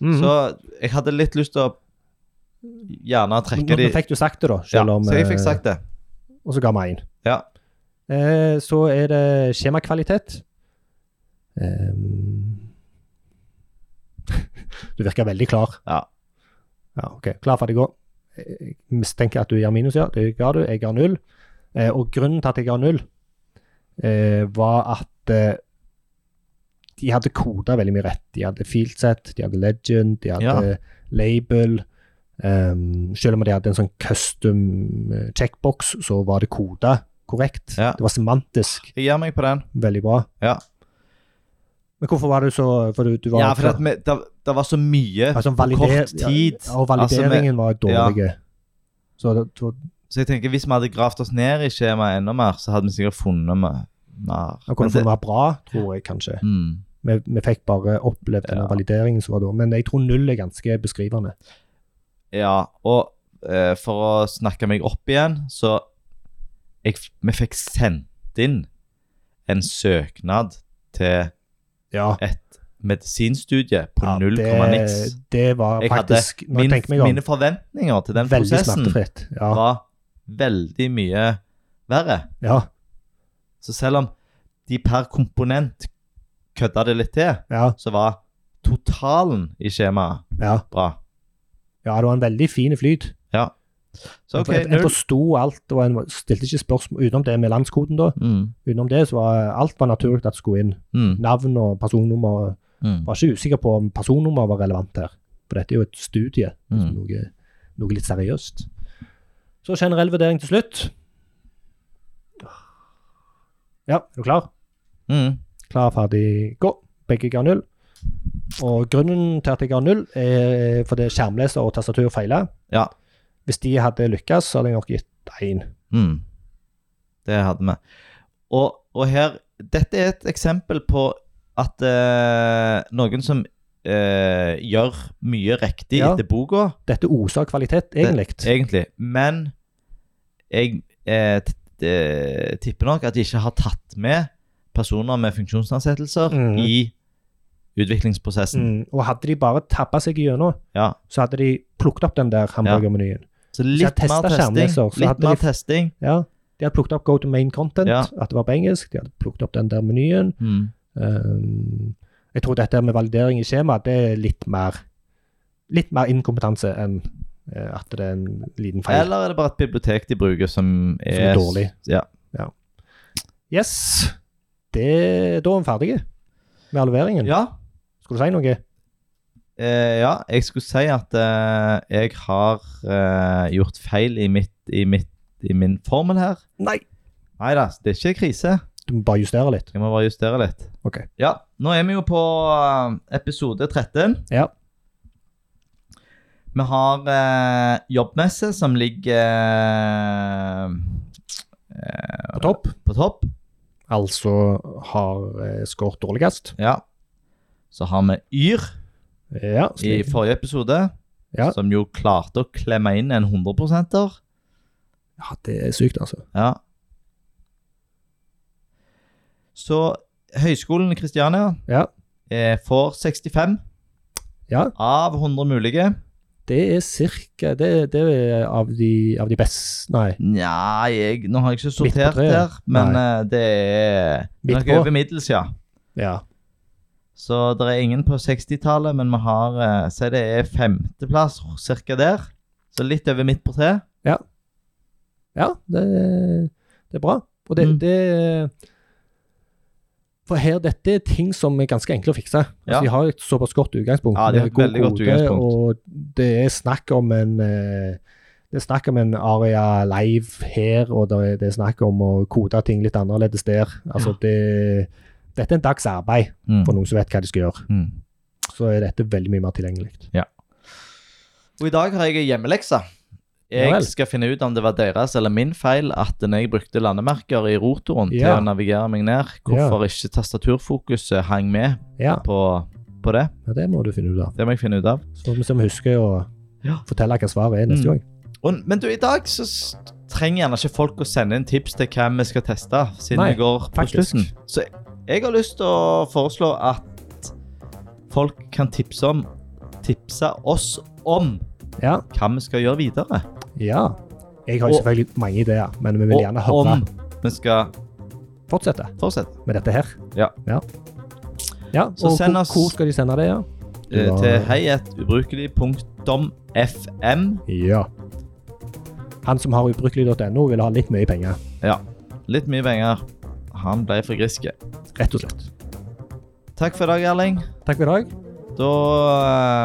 Mhm. Så jeg hadde litt lyst til å gjerne Nå trekke de nå fikk du sagt det, da. ja, Selv om, Så jeg fikk eh, sagt det. Og så ga vi én. Ja. Eh, så er det skjemakvalitet. Eh, *laughs* du virker veldig klar. Ja. Ja, ok. Klar, ferdig, gå. Jeg mistenker at du gir minus, ja. Det ga du. Jeg ga null. Eh, og grunnen til at jeg ga null, eh, var at eh, de hadde koda veldig mye rett. De hadde fieldset, de hadde legend, de hadde Ja. label. Ehm, selv om de hadde en sånn custom eh, checkbox, så var det koda korrekt. Ja. Det var semantisk. Jeg gir meg på den. Veldig bra. Ja, Men hvorfor var du så For du, du var ja for at vi, det, det var så mye altså, på valider, kort tid. altså, Ja, og valideringen var dårlig. Så det, det var Så jeg tenker hvis vi hadde gravd oss ned i skjemaet enda mer, så hadde vi sikkert funnet mer. mer. Han kunne Men det- funnet være bra, tror jeg kanskje. mm. Vi, vi fikk bare opplevd den Ja. valideringen som var da. Men jeg tror null er ganske beskrivende. Ja, og eh, for å snakke meg opp igjen, så jeg, f- Vi fikk sendt inn en søknad til Ja. et medisinstudie på Ja, 0, det- niks. Det var Jeg hadde faktisk, når jeg Min, tenker meg om, mine forventninger til den veldig prosessen smertefritt. Ja. var veldig mye verre. ja. Så selv om de per komponent kødda det litt til, Ja. så var totalen i skjemaet Ja. bra. ja, det var en veldig fin flyt. Så OK, En- en, en null. forsto alt, og en stilte ikke spørsmål utenom det med landskoden, da. Mm, Utenom det så var alt var naturlig at det skulle inn. mm, Navn og personnummer. mm, Var ikke usikker på om personnummer var relevant her. For dette er jo et studie, liksom mm. noe, noe litt seriøst. Så generell vurdering til slutt. Ja, er du klar? Mm. Klar, ferdig, gå. Begge ga null. Og grunnen til at jeg ga null, er fordi skjermleser og tastatur feiler. Ja. Hvis de hadde lykkes, så hadde jeg nok gitt én. Mm. Det hadde vi. Og, og her Dette er et eksempel på at eh, noen som eh, gjør mye riktig Ja. etter boka, Dette oser av kvalitet, egentlig. egentlig, men jeg eh, t- eh, tipper nok at de ikke har tatt med personer med funksjonsnedsettelser Mm. i utviklingsprosessen. Mm, og hadde de bare tabba seg gjennom, Ja. så hadde de plukket opp den der hamburgermenyen. Så jeg litt mer testet testing. skjermleser, så hadde Litt mer de- testing. Ja. De hadde plukket opp Go to main content, Ja. at det var på engelsk. De hadde plukket opp den der menyen. Mm. Um, jeg tror dette med validering i skjema, det er litt mer litt mer inkompetanse enn eh, at det er en liten feil. Eller er det bare et bibliotek de bruker som er, er dårlig. Ja. Yes! Det, da er vi ferdige med alleveringen. ja. Skal du si noe? Eh, ja, jeg skulle si at eh, jeg har eh, gjort feil i, mitt, i, mitt, i min formel her. Nei! Nei da, det er ikke krise. Du må bare justere litt. Jeg må bare justere litt. Ok. Ja, nå er vi jo på eh, episode 13. Ja. Vi har eh, jobbmesse som ligger eh, eh, På topp. på topp. Altså har eh, skåret dårligst. Ja. Så har vi Yr Ja. i slik. forrige episode, Ja. som jo klarte å klemme inn en 100 ja, det er sykt, altså. Ja. Så Høgskolen i Kristiania Ja. eh, får 65 Ja. av 100 mulige. Det er cirka Det, det er av de, av de beste Nei. Nja, jeg, nå har jeg ikke sortert treet. her, men eh, det er Midt nok på. over middels, ja. Ja. Så det er ingen på 60-tallet, men vi har eh, Si det er femteplass cirka der. Så litt over midt på treet. Ja, det, det er bra. Og det, Mm. det For her, dette er ting som er ganske enkle å fikse. Altså, Ja. De har et såpass godt utgangspunkt. Ja, de har med et god veldig godt kode, utgangspunkt. Og det er snakk om en eh, det er snakk om en aria live her, og det er, det er snakk om å kode ting litt annerledes der. Altså, det, dette er en dags arbeid Mm. for noen som vet hva de skal gjøre. Mm. Så er dette veldig mye mer tilgjengelig. Og i dag har jeg en hjemmelekse. Jeg Ja vel. skal finne ut om det var deres eller min feil at når jeg brukte landemerker i rotoren til Ja. å navigere meg ned, hvorfor ikke tastaturfokuset hang med Ja, på, på det. ja, det må du finne ut av. Det må jeg finne ut av. Så må vi se om vi husker å Ja. fortelle hva svaret er neste Mm. gang. Og, men du, i dag så s- trenger gjerne ikke folk å sende inn tips til hva vi skal teste, siden Nei, vi går på faktisk. slutten. Så jeg har lyst til å foreslå at folk kan tipse om tipse oss om Ja. hva vi skal gjøre videre. Ja. Jeg har jo Og- selvfølgelig mange ideer, men vi vil gjerne og høre om vi skal fortsette fortsette. med dette her. Ja. Ja, Ja, Så og send hvor, oss- hvor skal de sende det, ja? eh, Ja. Til heietUbrukelig.fm. Ja. Han som har ubrukelig.no vil ha litt mye penger, Ja, litt mye penger. Han ble for griske. rett og slett. Takk for i dag, Erling. Takk for i dag. Da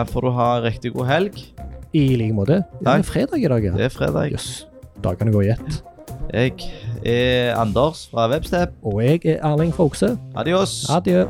eh, får du ha en riktig god helg. I like måte. Det Takk. er fredag i dag, ja. Det er fredag. Jøss. Dagene går i ett. Jeg er Anders fra Webstep. Og jeg er Erling Frokse. Adios! Adjø.